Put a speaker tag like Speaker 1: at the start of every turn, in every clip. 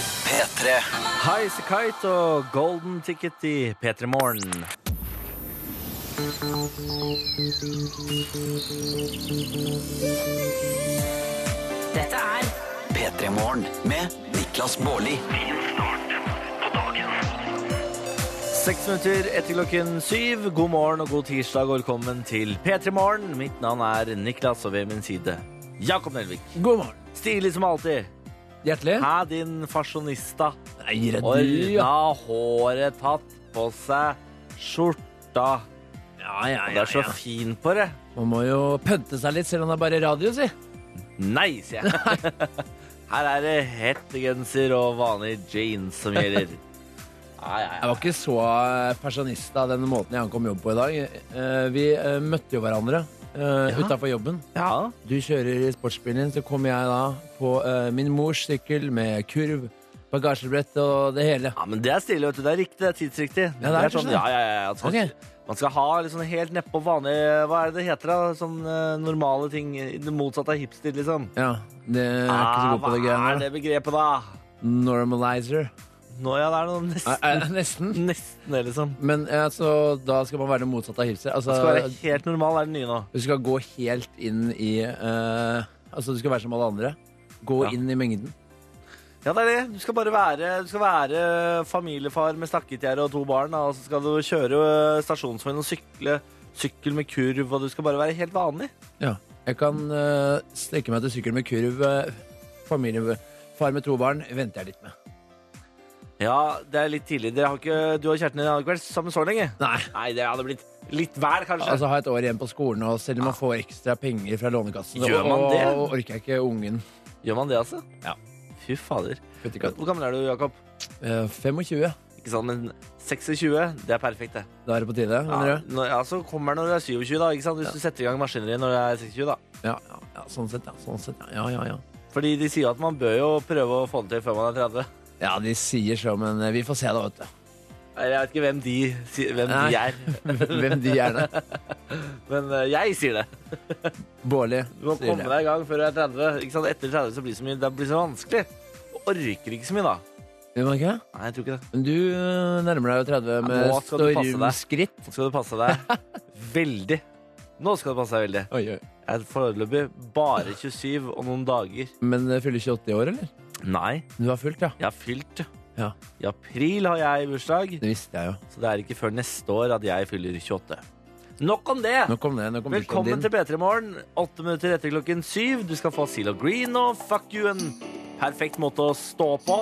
Speaker 1: P3.
Speaker 2: Highasakite og Golden Ticket i P3 Morgen.
Speaker 3: Dette er
Speaker 1: P3 Morgen med Niklas Baarli.
Speaker 2: 6 minutter etter klokken syv. God morgen og god tirsdag og velkommen til P3 Morgen. Mitt navn er Niklas, og ved min side Jakob Nelvik.
Speaker 4: God morgen.
Speaker 2: Stilig som alltid.
Speaker 4: Hjertelig.
Speaker 2: Hæ, din fasjonista.
Speaker 4: Nei, gir det du, ja.
Speaker 2: Ordna håret, tatt på seg skjorta.
Speaker 4: Ja, ja,
Speaker 2: Og det
Speaker 4: ja,
Speaker 2: er så
Speaker 4: ja.
Speaker 2: fin på det.
Speaker 4: Man må jo pønte seg litt, selv om det er bare radio, si.
Speaker 2: Nei, sier jeg. Her er det hettegenser og vanlig jeans som gjelder. Ja, ja, ja.
Speaker 4: Jeg var ikke så personist av den måten jeg ankom jobb på i dag. Eh, Vi eh, møtte jo hverandre uh, utafor jobben.
Speaker 2: ja.
Speaker 4: Du kjører i sportsbilen din, så kommer jeg da på eh, min mors sykkel med kurv, bagasjebrett og det hele.
Speaker 2: Ja, men det er stilig, vet du. Det er riktig, det er sånn. tidsriktig.
Speaker 4: Ja, det er kanskje det.
Speaker 2: ja, ja, ja. Man skal,
Speaker 4: Ok.
Speaker 2: man skal ha litt sånn helt nedpå vanlig Hva er det det heter, da? Sånn eh, normale ting. Det motsatte av hipster, liksom.
Speaker 4: Ja, det er ikke så god på
Speaker 2: Ah, hva
Speaker 4: det
Speaker 2: er
Speaker 4: greiene.
Speaker 2: det begrepet, da?
Speaker 4: der. Normalizer.
Speaker 2: Nå, ja, det er noe
Speaker 4: Eh,
Speaker 2: nesten,
Speaker 4: eh, Nesten.
Speaker 2: nesten det, liksom.
Speaker 4: Men eh, altså, da skal man være det motsatte av hipster.
Speaker 2: Det
Speaker 4: Altså,
Speaker 2: skal være helt normal, er det nye nå.
Speaker 4: Du skal gå helt inn i eh, Altså, du skal være som alle andre. Gå
Speaker 2: Ja.
Speaker 4: inn i mengden.
Speaker 2: Ja, det er det. Du skal bare være, du skal være familiefar med stakkegjerde og to barn, da, og så skal du kjøre eh, stasjonsveien og sykle sykkel med kurv, og du skal bare være helt vanlig.
Speaker 4: Ja. Jeg kan eh, strekke meg til sykkel med kurv. eh, familiefar med to barn venter jeg litt med.
Speaker 2: Ja, det er litt tidlig. Dere har ikke, du og kjæresten din har ikke vært sammen så lenge.
Speaker 4: Nei.
Speaker 2: Nei, det hadde blitt litt vær, kanskje.
Speaker 4: Altså, ha et år igjen på skolen, og selv om man får ekstra penger fra Lånekassen,
Speaker 2: Gjør man
Speaker 4: og,
Speaker 2: det?
Speaker 4: og orker jeg ikke ungen.
Speaker 2: Gjør man det, altså?
Speaker 4: Ja.
Speaker 2: Fy fader.
Speaker 4: Vet ikke at,
Speaker 2: Hvor gammel er du, Jakob?
Speaker 4: eh, 25.
Speaker 2: Ikke sant, men 26, det er perfekt, det.
Speaker 4: Da er det på tide, mener
Speaker 2: Ja,
Speaker 4: du?
Speaker 2: når, ja, så kommer det når du er 27, da. ikke sant? Hvis du setter i gang maskineriet når du er 26, da.
Speaker 4: Ja, ja, ja, sånn sett, ja. Sånn sett, ja. ja, ja, ja.
Speaker 2: Fordi de sier jo at man bør jo prøve å få det til før man er 30.
Speaker 4: ja de sier så, men eh, vi får se, da, vet du.
Speaker 2: Nei, Jeg vet ikke hvem de, si, hvem
Speaker 4: Nei.
Speaker 2: de er,
Speaker 4: Hvem de er, da.
Speaker 2: men eh, jeg sier det.
Speaker 4: Bårli.
Speaker 2: Du må
Speaker 4: sier
Speaker 2: komme
Speaker 4: det.
Speaker 2: deg i gang før du er 30. ikke sant? Etter 30 så blir det så mye, det blir så vanskelig. Du orker ikke så mye da.
Speaker 4: Gjør man ikke det?
Speaker 2: Nei, jeg tror ikke det.
Speaker 4: Men du øh, nærmer deg jo 30 med
Speaker 2: nå skal du passe deg.
Speaker 4: stormskritt.
Speaker 2: Nå skal du passe deg veldig. Nå skal du passe deg veldig.
Speaker 4: Oi, oi.
Speaker 2: Jeg er foreløpig bare 27 og noen dager.
Speaker 4: Men øh, fyller ikke 80 år, eller?
Speaker 2: Nei,
Speaker 4: Du har fulgt, ja.
Speaker 2: jeg har fylt.
Speaker 4: Ja.
Speaker 2: I april har jeg bursdag,
Speaker 4: Det visste jeg jo.
Speaker 2: så det er ikke før neste år at jeg fyller 28. Nok om det!
Speaker 4: Nå kom det. Nå kom
Speaker 2: Velkommen
Speaker 4: bursdagen
Speaker 2: til
Speaker 4: din.
Speaker 2: P3 Morgen. Åtte minutter etter klokken syv. Du skal få Seal of Green og Fuck You. En perfekt måte å stå på.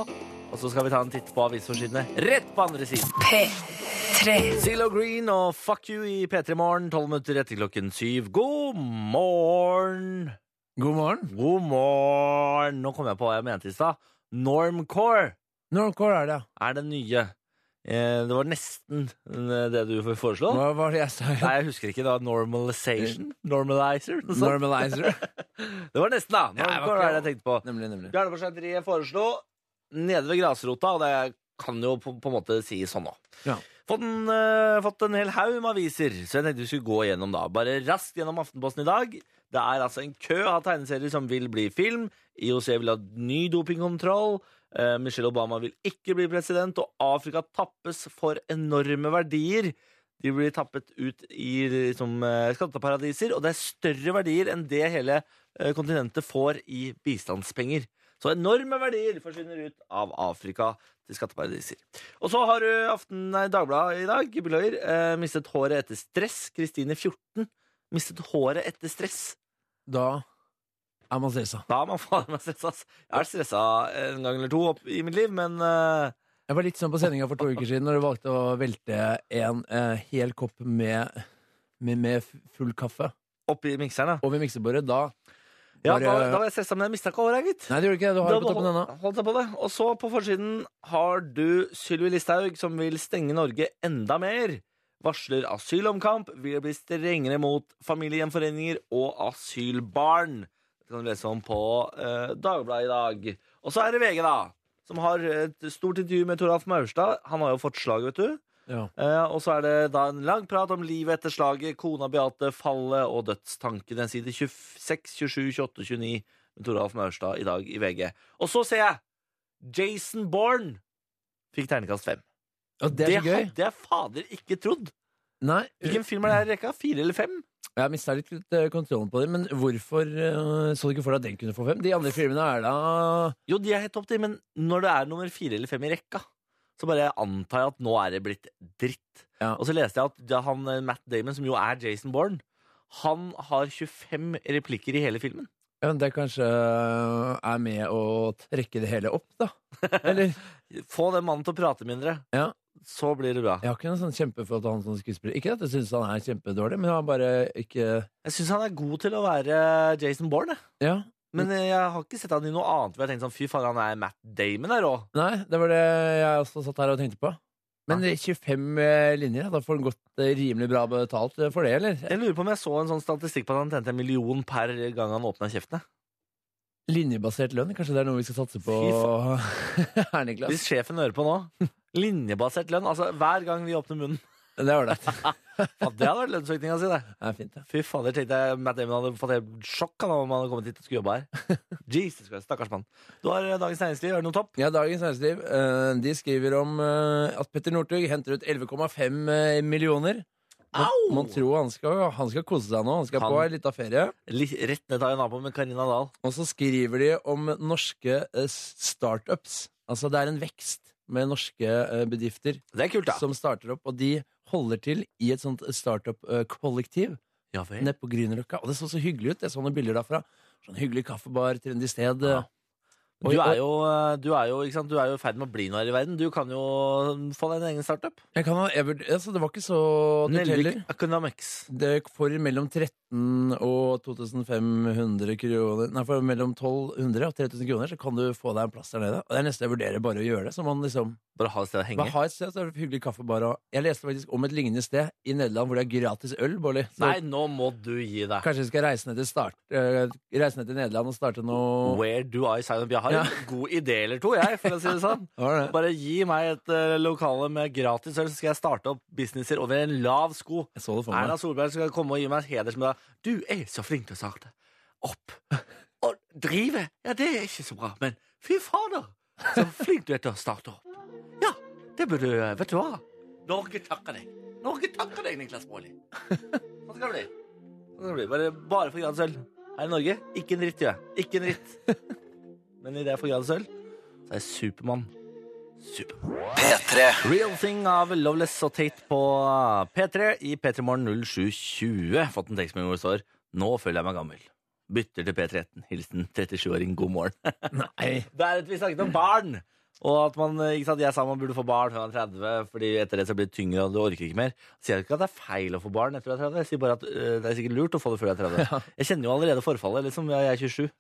Speaker 2: Og så skal vi ta en titt på avisforsidene rett på andre siden.
Speaker 3: P3.
Speaker 2: Seal of Green og Fuck You i P3 Morgen. Tolv minutter etter klokken syv. God morgen!
Speaker 4: God morgen.
Speaker 2: God morgen! Nå kom jeg på hva jeg mente i stad. Normcore
Speaker 4: Normcore er det, ja.
Speaker 2: er det nye. Eh, Det var nesten eh, det du foreslo.
Speaker 4: Hva var det jeg sa?
Speaker 2: Nei, jeg husker ikke. da Normalization? Normalizer? Noe sånt.
Speaker 4: Normalizer.
Speaker 2: Det var nesten, da.
Speaker 4: Ja, det var
Speaker 2: Normcore
Speaker 4: ikke-
Speaker 2: er det jeg tenkte på.
Speaker 4: nemlig, nemlig.
Speaker 2: Bjarneforsenteret foreslo nede ved grasrota, og det kan jo på, på en måte si sånn nå.
Speaker 4: Ja.
Speaker 2: Fått en, eh, fått en hel haug med aviser, så jeg tenkte vi skulle gå gjennom da. Bare raskt gjennom Aftenposten i dag. Det er altså en kø av tegneserier som vil bli film. IOC vil ha ny dopingkontroll. Eh, Michelle Obama vil ikke bli president, og Afrika tappes for enorme verdier. De blir tappet ut i liksom, eh, skatteparadiser, og det er større verdier enn det hele eh, kontinentet får i bistandspenger. Så enorme verdier forsvinner ut av Afrika til skatteparadiser. Og så har du aften, nei, Dagbladet i dag, beklager, eh, mistet håret etter stress. Kristine 14 mistet håret etter stress.
Speaker 4: Da er man stressa.
Speaker 2: Da er man faen meg stressa. ass. Jeg har vært stressa en gang eller to opp i mitt liv, men eh,
Speaker 4: Jeg var litt sånn på sendinga for to uker siden når du valgte å velte en eh, hel kopp med, med, med full kaffe
Speaker 2: oppi mikseren, da.
Speaker 4: over miksebordet. Da
Speaker 2: Ja,
Speaker 4: Bare-
Speaker 2: da, da var jeg stressa, men jeg mista ikke håret, gitt.
Speaker 4: Nei, det gjorde ikke det. Du har det på toppen ennå.
Speaker 2: Hold deg på det. Og så på forsiden har du Sylvi Listhaug som vil stenge Norge enda mer. Varsler asylomkamp, vil bli strengere mot familiegjenforeninger og asylbarn. Det kan du lese om på eh, Dagbladet i dag. Og så er det VG, da. Som har et stort intervju med Toralf Maurstad. Han har jo fått slag, vet du.
Speaker 4: Ja.
Speaker 2: Eh, og så er det da en lang prat om livet etter slaget, kona Beate, fallet og dødstankene. Side 26, 27, 28, 29 med Toralf Maurstad i dag i VG. Og så ser jeg Jason Bourne Fikk terningkast fem.
Speaker 4: Og det er så gøy.
Speaker 2: hadde jeg fader ikke trodd.
Speaker 4: Nei,
Speaker 2: Hvilken film er det her i rekka? Fire eller fem?
Speaker 4: jeg mista litt, litt eh, kontrollen på det, men hvorfor eh, så du ikke for deg at den kunne få fem? De andre filmene er da
Speaker 2: Jo, de er helt topp, de, men når det er nummer fire eller fem i rekka, så bare antar jeg at nå er det blitt dritt.
Speaker 4: Ja.
Speaker 2: Og så leste jeg at da han, eh, Matt Damon, som jo er Jason Bourne, han har 25 replikker i hele filmen.
Speaker 4: ja, men Det kanskje eh, er med å trekke det hele opp, da? Eller?
Speaker 2: Få den mannen til å prate mindre,
Speaker 4: Ja.
Speaker 2: så blir det bra.
Speaker 4: Jeg har ikke noen sånn kjempeforhold til han som skuespiller. Ikke at jeg syns han er kjempedårlig, men han bare ikke
Speaker 2: Jeg syns han er god til å være Jason Bourne, jeg.
Speaker 4: Ja.
Speaker 2: men eh, jeg har ikke sett han i noe annet hvor jeg tenkte sånn fy faen, han er Matt Damon her òg.
Speaker 4: Nei, det var det jeg også satt her og tenkte på. Men 25 eh, linjer, da får han godt eh, rimelig bra betalt eh, for det, eller?
Speaker 2: Jeg lurer på om jeg så en sånn statistikk på at han tjente en million per gang han åpna kjeftene.
Speaker 4: Linjebasert lønn, kanskje det er noe vi skal satse på her, Niklas?
Speaker 2: Hvis sjefen hører på nå Linjebasert lønn, altså hver gang vi åpner munnen.
Speaker 4: Det er ålreit.
Speaker 2: Ja, det hadde vært lønnsøkninga si, det.
Speaker 4: Det er fint, det.
Speaker 2: Fy fader, tenkte jeg Matt Damon hadde fått helt sjokk han, om han hadde kommet hit og skulle jobbe her. Jesus Christ, stakkars mann. Du har eh, Dagens Næringsliv, har du noe topp?
Speaker 4: Ja, Dagens Næringsliv eh, de skriver om eh, at Petter Northug henter ut 11,5 eh, millioner.
Speaker 2: Au!
Speaker 4: Man tror han skal, han skal kose seg nå. Han skal
Speaker 2: Oh. Han-
Speaker 4: på ei lita ferie.
Speaker 2: Litt, rett ned til Ayanabo med Karina Dahl.
Speaker 4: Og så skriver de om norske eh, startups. Altså det er en vekst med norske eh, bedrifter
Speaker 2: Det er kult, da.
Speaker 4: som starter opp, og de holder til i et sånt eh, startup-kollektiv
Speaker 2: ja, vel.
Speaker 4: nede på Grünerløkka. Og det så så hyggelig ut. Jeg så noen bilder derfra. Sånn hyggelig kaffebar, trendy sted. eh.
Speaker 2: Ja. Du er jo, eh, du er jo, ikke sant? Du er jo i ferd med å bli noe her i verden. Du kan jo få deg en egen startup.
Speaker 4: Jeg kan ha, jeg vurd- altså, det var ikke så dyrt
Speaker 2: Nelvik
Speaker 4: heller.
Speaker 2: Economics.
Speaker 4: Det for mellom 13 og 2500 kroner Nei, for mellom 1200 og 3000 kroner så kan du få deg en plass der nede. Og det er nesten jeg vurderer bare å gjøre det. Så man liksom
Speaker 2: Bare ha et sted å henge.
Speaker 4: Bare ha et sted, så er det hyggelig kaffebar. Og jeg leste faktisk om et lignende sted i Nederland hvor det er gratis øl. Bårli. Så
Speaker 2: Nei, nå må du gi deg.
Speaker 4: Kanskje vi skal reise ned til, start, eh, reise ned til Nederland og starte noe
Speaker 2: Where do I sign up? Jeg har en god idé eller to, jeg, for å si det sånn.
Speaker 4: Hva er det?
Speaker 2: Bare gi meg et eh, lokale med gratis øl, så skal jeg starte opp businesser over en lav sko.
Speaker 4: Jeg så det for
Speaker 2: Erna
Speaker 4: meg.
Speaker 2: Solberg skal komme og gi meg en hedersmedalje. Du er så flink til å starte opp. Å drive, ja, det er ikke så bra, men fy fader, så flink du er til å starte opp. Ja, det burde du Vet du hva? Norge takker deg. Norge takker deg, Niklas Baarli. Sånn skal det bli. Sånn skal det bli. Bare, bare for gratis øl. Her i Norge, ikke en dritt, gjør jeg. Ikke en dritt. Men i det jeg får gratis øl, så er jeg Supermann. Supermann.
Speaker 1: P3.
Speaker 2: Real Thing av Loveless og Tate på P3 i P3 Morgen 0720. Fått en tekstmelding hvor det står Nå føler jeg meg gammel. Bytter til P13. Hilsen 37-åring god morgen.
Speaker 4: Nei.
Speaker 2: Det er et vi snakket om barn! Og at man, ikke sant, Jeg sa man burde få barn før man er 30, fordi etter det så blir det tyngre og du orker ikke mer. Jeg sier ikke at det er feil å få barn etter du er 30, jeg sier bare at øh, det er sikkert lurt å få det før du er 30. Jeg kjenner jo allerede forfallet. liksom, Jeg er 27.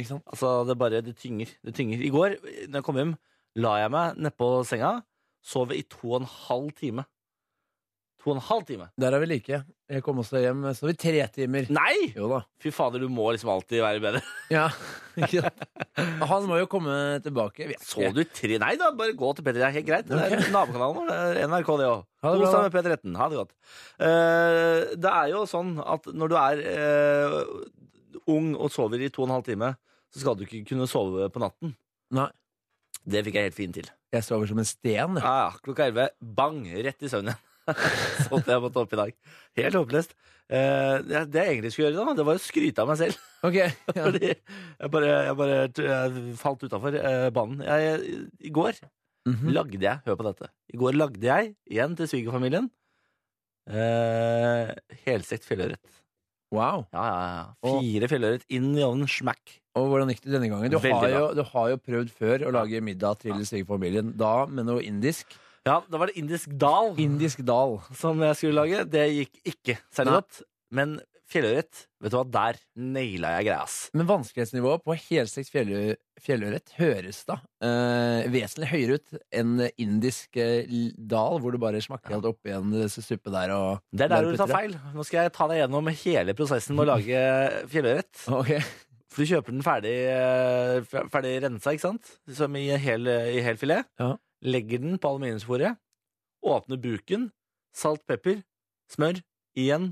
Speaker 4: Ikke sant?
Speaker 2: Altså, det er bare, det tynger, det tynger. I går, når jeg kom hjem, la jeg meg nedpå senga, sov i to og en halv time. To og en halv time?
Speaker 4: Der er vi like. Jeg kom også hjem, så var vi tre timer.
Speaker 2: Nei!
Speaker 4: Jo da.
Speaker 2: Fy fader, du må liksom alltid være bedre.
Speaker 4: Ja. Ikke sant? Han må jo komme tilbake. Vi er
Speaker 2: Så du tre Nei da, bare gå til P3. Det er helt greit. Det er nabokanalen vår. Det er NRK, det òg.
Speaker 4: Ha det bra,
Speaker 2: Kos deg med P13. Ha det godt. Eh, det er jo sånn at når du er eh, ung og sover i to og en halv time, så skal du ikke kunne sove på natten.
Speaker 4: Nei.
Speaker 2: Det fikk jeg helt fint til.
Speaker 4: Jeg sover som en sten. jeg.
Speaker 2: Ja, ja, klokka 11, bang, rett i søvnen. Sånn at jeg måtte opp i dag. Helt håpløst. Eh, det det jeg egentlig skulle gjøre, da, det var å skryte av meg selv.
Speaker 4: Ok. Ja.
Speaker 2: Fordi jeg bare, jeg bare jeg falt utafor eh, banen. Jeg, I går
Speaker 4: Mhm.
Speaker 2: lagde jeg Hør på dette. I går lagde jeg, igjen til svigerfamilien, eh, helstekt fjellørret.
Speaker 4: Wow.
Speaker 2: Ja, ja, ja.
Speaker 4: Og-
Speaker 2: Fire fjellørret inn i ovnen, smack.
Speaker 4: Og hvordan gikk det denne gangen? Du
Speaker 2: Veldig
Speaker 4: har, jo, du har jo prøvd før å lage middag til svigerfamilien. Da med noe indisk.
Speaker 2: Ja, da var det indisk dal
Speaker 4: Indisk dal.
Speaker 2: som jeg skulle lage. Det gikk ikke særlig
Speaker 4: Nei.
Speaker 2: godt. Men fjellørret, vet du hva, der naila jeg greia, ass.
Speaker 4: Men vanskelighetsnivået på helstekt fjellø- fjellørret høres da eh, vesentlig høyere ut enn indisk eh, l- dal, hvor du bare smakker alt oppi en eh, suppe der og
Speaker 2: Det er der hvor du tar
Speaker 4: putter
Speaker 2: feil. Nå skal jeg ta deg gjennom hele prosessen med å lage fjellørret.
Speaker 4: Ok.
Speaker 2: For du kjøper den ferdig, eh, fer- ferdig rensa, ikke sant? Som i en hel, i hel filet.
Speaker 4: Ja.
Speaker 2: Legger den på aluminiumsfolie. Åpner buken. Salt, pepper, smør. Igjen.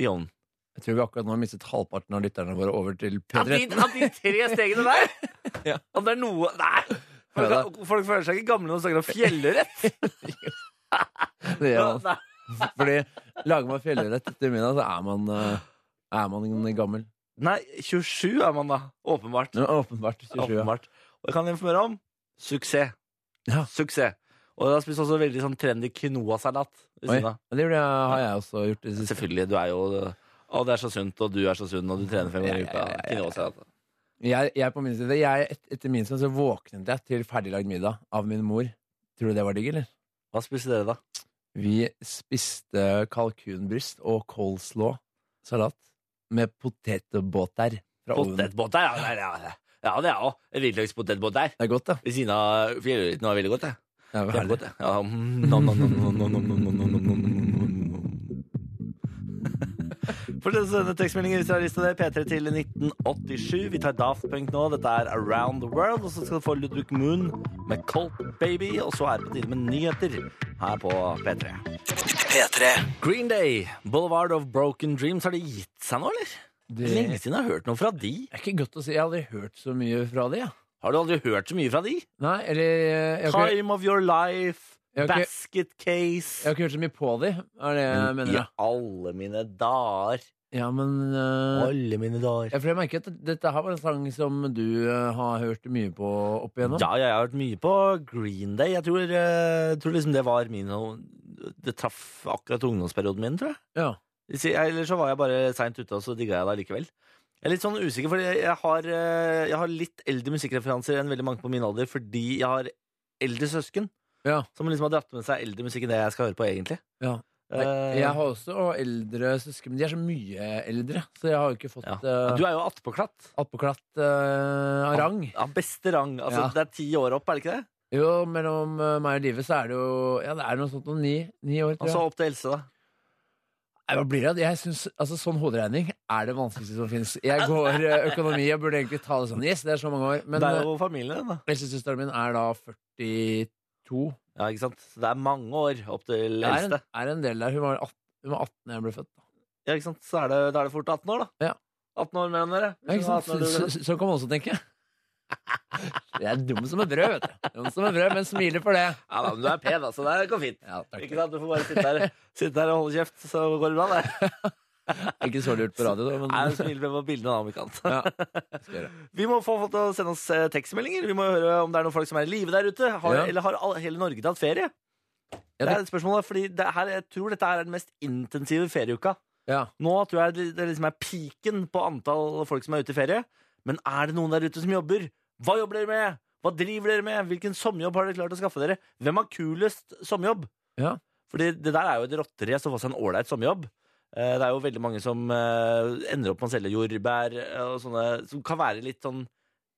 Speaker 2: I ovnen.
Speaker 4: Jeg tror vi akkurat nå har mistet halvparten av lytterne våre over til
Speaker 2: At de,
Speaker 4: P13.
Speaker 2: at de tre stegene der!
Speaker 4: Ja.
Speaker 2: Om det er noe Nei!
Speaker 4: Hør da.
Speaker 2: Folk, folk føler seg ikke gamle når de snakker om fjellørret.
Speaker 4: Det gjør man.
Speaker 2: Nei.
Speaker 4: Fordi lager man fjellørret etter middag, så er man, eh, er man gammel.
Speaker 2: Nei, 27 er man da. Åpenbart.
Speaker 4: Ja, Åpenbart. 27. ja.
Speaker 2: Åpenbart. Og jeg kan informere om suksess.
Speaker 4: Ja.
Speaker 2: Suksess. Og jeg har spist også veldig sånn trendy quinoa-salat ved
Speaker 4: Oi,
Speaker 2: siden av.
Speaker 4: Det gjorde jeg- har jeg også gjort. i Det siste.
Speaker 2: Selvfølgelig, du er jo Å, det er så sunt, og du er så sunn, og du trener fem ganger i uka. Quinoa-salat.
Speaker 4: Jeg, jeg på min side, jeg, et, etter min side så våknet jeg til ferdiglagd middag av min mor. Tror du det var digg, eller?
Speaker 2: Hva spiser dere, da?
Speaker 4: Vi spiste kalkunbryst og coleslaw-salat med potetbåter fra ovnen.
Speaker 2: Potetbåt der, ja. Det er, ja. ja, det er òg. En hvitløkspotetbåt der.
Speaker 4: Det er godt, da.
Speaker 2: Ved siden av fjellørreten var veldig godt, jeg.
Speaker 4: Det er
Speaker 2: Kjempegodt,
Speaker 4: herlig.
Speaker 2: det. Ja, mm, nom, nom, nom, nom, nom, nom, nom, nom, nom, nom, nom, nom. Fortsett å sende tekstmeldinger hvis du har lyst til det. P3 til 1987. Vi tar Daft Punk nå. Dette er Around the World. Og så skal du få Ludvig Moon med Colt Baby. Og så er det på tide med nyheter her på P3.
Speaker 1: P3.
Speaker 2: Green Day, Boulevard of Broken Dreams. Har de gitt seg nå, eller?
Speaker 4: Det
Speaker 2: Lenge siden jeg har hørt noe fra de.
Speaker 4: er ikke godt å si. Jeg har aldri hørt så mye fra det. Ja.
Speaker 2: Har du aldri hørt så mye fra de?
Speaker 4: Nei, eller eh, jeg har, ikke,
Speaker 2: Time of Your Life,
Speaker 4: Jeg har ikke-
Speaker 2: Basket
Speaker 4: jeg har
Speaker 2: Case
Speaker 4: ikke hørt så mye på de, er det jeg Eh, mener.
Speaker 2: I
Speaker 4: Ja,
Speaker 2: alle mine dager.
Speaker 4: ja men eh,
Speaker 2: Alle mine dager.
Speaker 4: Ja, for jeg merker at dette her var en sang som du eh, har hørt mye på opp igjennom.
Speaker 2: Ja, ja, jeg har hørt mye på Green Day. Jeg tror, eh, tror liksom det var min Det traff akkurat ungdomsperioden min, tror jeg.
Speaker 4: Ja.
Speaker 2: Så jeg- Eller så var jeg bare seint ute, og så digga jeg det allikevel. Jeg er litt sånn usikker, for jeg, jeg, har, eh, jeg har litt eldre musikkreferanser enn veldig mange på min alder, fordi jeg har eldre søsken
Speaker 4: Ja.
Speaker 2: som liksom har dratt med seg eldre musikk enn det jeg skal høre på, egentlig.
Speaker 4: Ja. Nei,
Speaker 2: Eh,
Speaker 4: Jeg har også eldre søsken, men de er så mye eldre, så jeg har jo ikke fått
Speaker 2: ja.
Speaker 4: eh,
Speaker 2: Du er jo attpåklatt.
Speaker 4: attpåklatt eh, rang.
Speaker 2: Ja, beste rang. Altså,
Speaker 4: Ja.
Speaker 2: Det er ti år opp, er det ikke det?
Speaker 4: Jo, mellom eh, meg og livet så er det jo Ja, det er noe sånt noen ni, ni år,
Speaker 2: Og
Speaker 4: tror
Speaker 2: så
Speaker 4: jeg.
Speaker 2: opp til Else, da.
Speaker 4: Nei, hva blir det? Jeg synes, altså, sånn hoderegning er det vanskeligste som finnes. Jeg går eh, økonomi, jeg burde egentlig ta det sånn. Yes, det er så mange år. Men
Speaker 2: det er
Speaker 4: eh,
Speaker 2: jo familien, da.
Speaker 4: eldstesøsteren min er da 42.
Speaker 2: Ja, ikke sant? Så det er mange år opp til
Speaker 4: Det er en,
Speaker 2: eldste.
Speaker 4: er en del der. Hun var 18, hun var 18 da jeg ble født.
Speaker 2: Ja, ikke sant? Så er det, da er det fort 18 år, da.
Speaker 4: Ja.
Speaker 2: 18 år mellom dere.
Speaker 4: Ja, ikke
Speaker 2: 18
Speaker 4: sant?
Speaker 2: år mellom
Speaker 4: Så,
Speaker 2: dere.
Speaker 4: så- sånn kan man også tenke. Jeg er dum som et brød, vet du. Dum som et brød, men smiler for det.
Speaker 2: Ja, da, men du er pen, altså. Det går fint.
Speaker 4: Ja, takk.
Speaker 2: Ikke sant? Du får bare sitte her, sitte her og holde kjeft, så går det bra, det.
Speaker 4: Ikke så lurt på radio, da, men
Speaker 2: Nei, du smiler med på bildene, da, om ikke annet.
Speaker 4: ja. skal gjøre.
Speaker 2: Vi må få folk til å sende oss eh, tekstmeldinger. Vi må høre om det er noen folk som er i live der ute. Har,
Speaker 4: Ja.
Speaker 2: Eller har all, hele Norge tatt ferie?
Speaker 4: Ja,
Speaker 2: det
Speaker 4: det-
Speaker 2: er et spørsmål, da, fordi det her, jeg tror dette her er den mest intensive ferieuka.
Speaker 4: Ja.
Speaker 2: Nå tror jeg det, det liksom er piken på antall folk som er ute i ferie. Men er det noen der ute som jobber? Hva jobber dere med? Hva driver dere med? Hvilken sommerjobb har dere klart å skaffe dere? Hvem har kulest sommerjobb?
Speaker 4: Ja.
Speaker 2: Fordi det der er jo et rotterace å få seg en ålreit sommerjobb. Eh, Det er jo veldig mange som eh, ender opp med å selge jordbær eh, og sånne som kan være litt sånn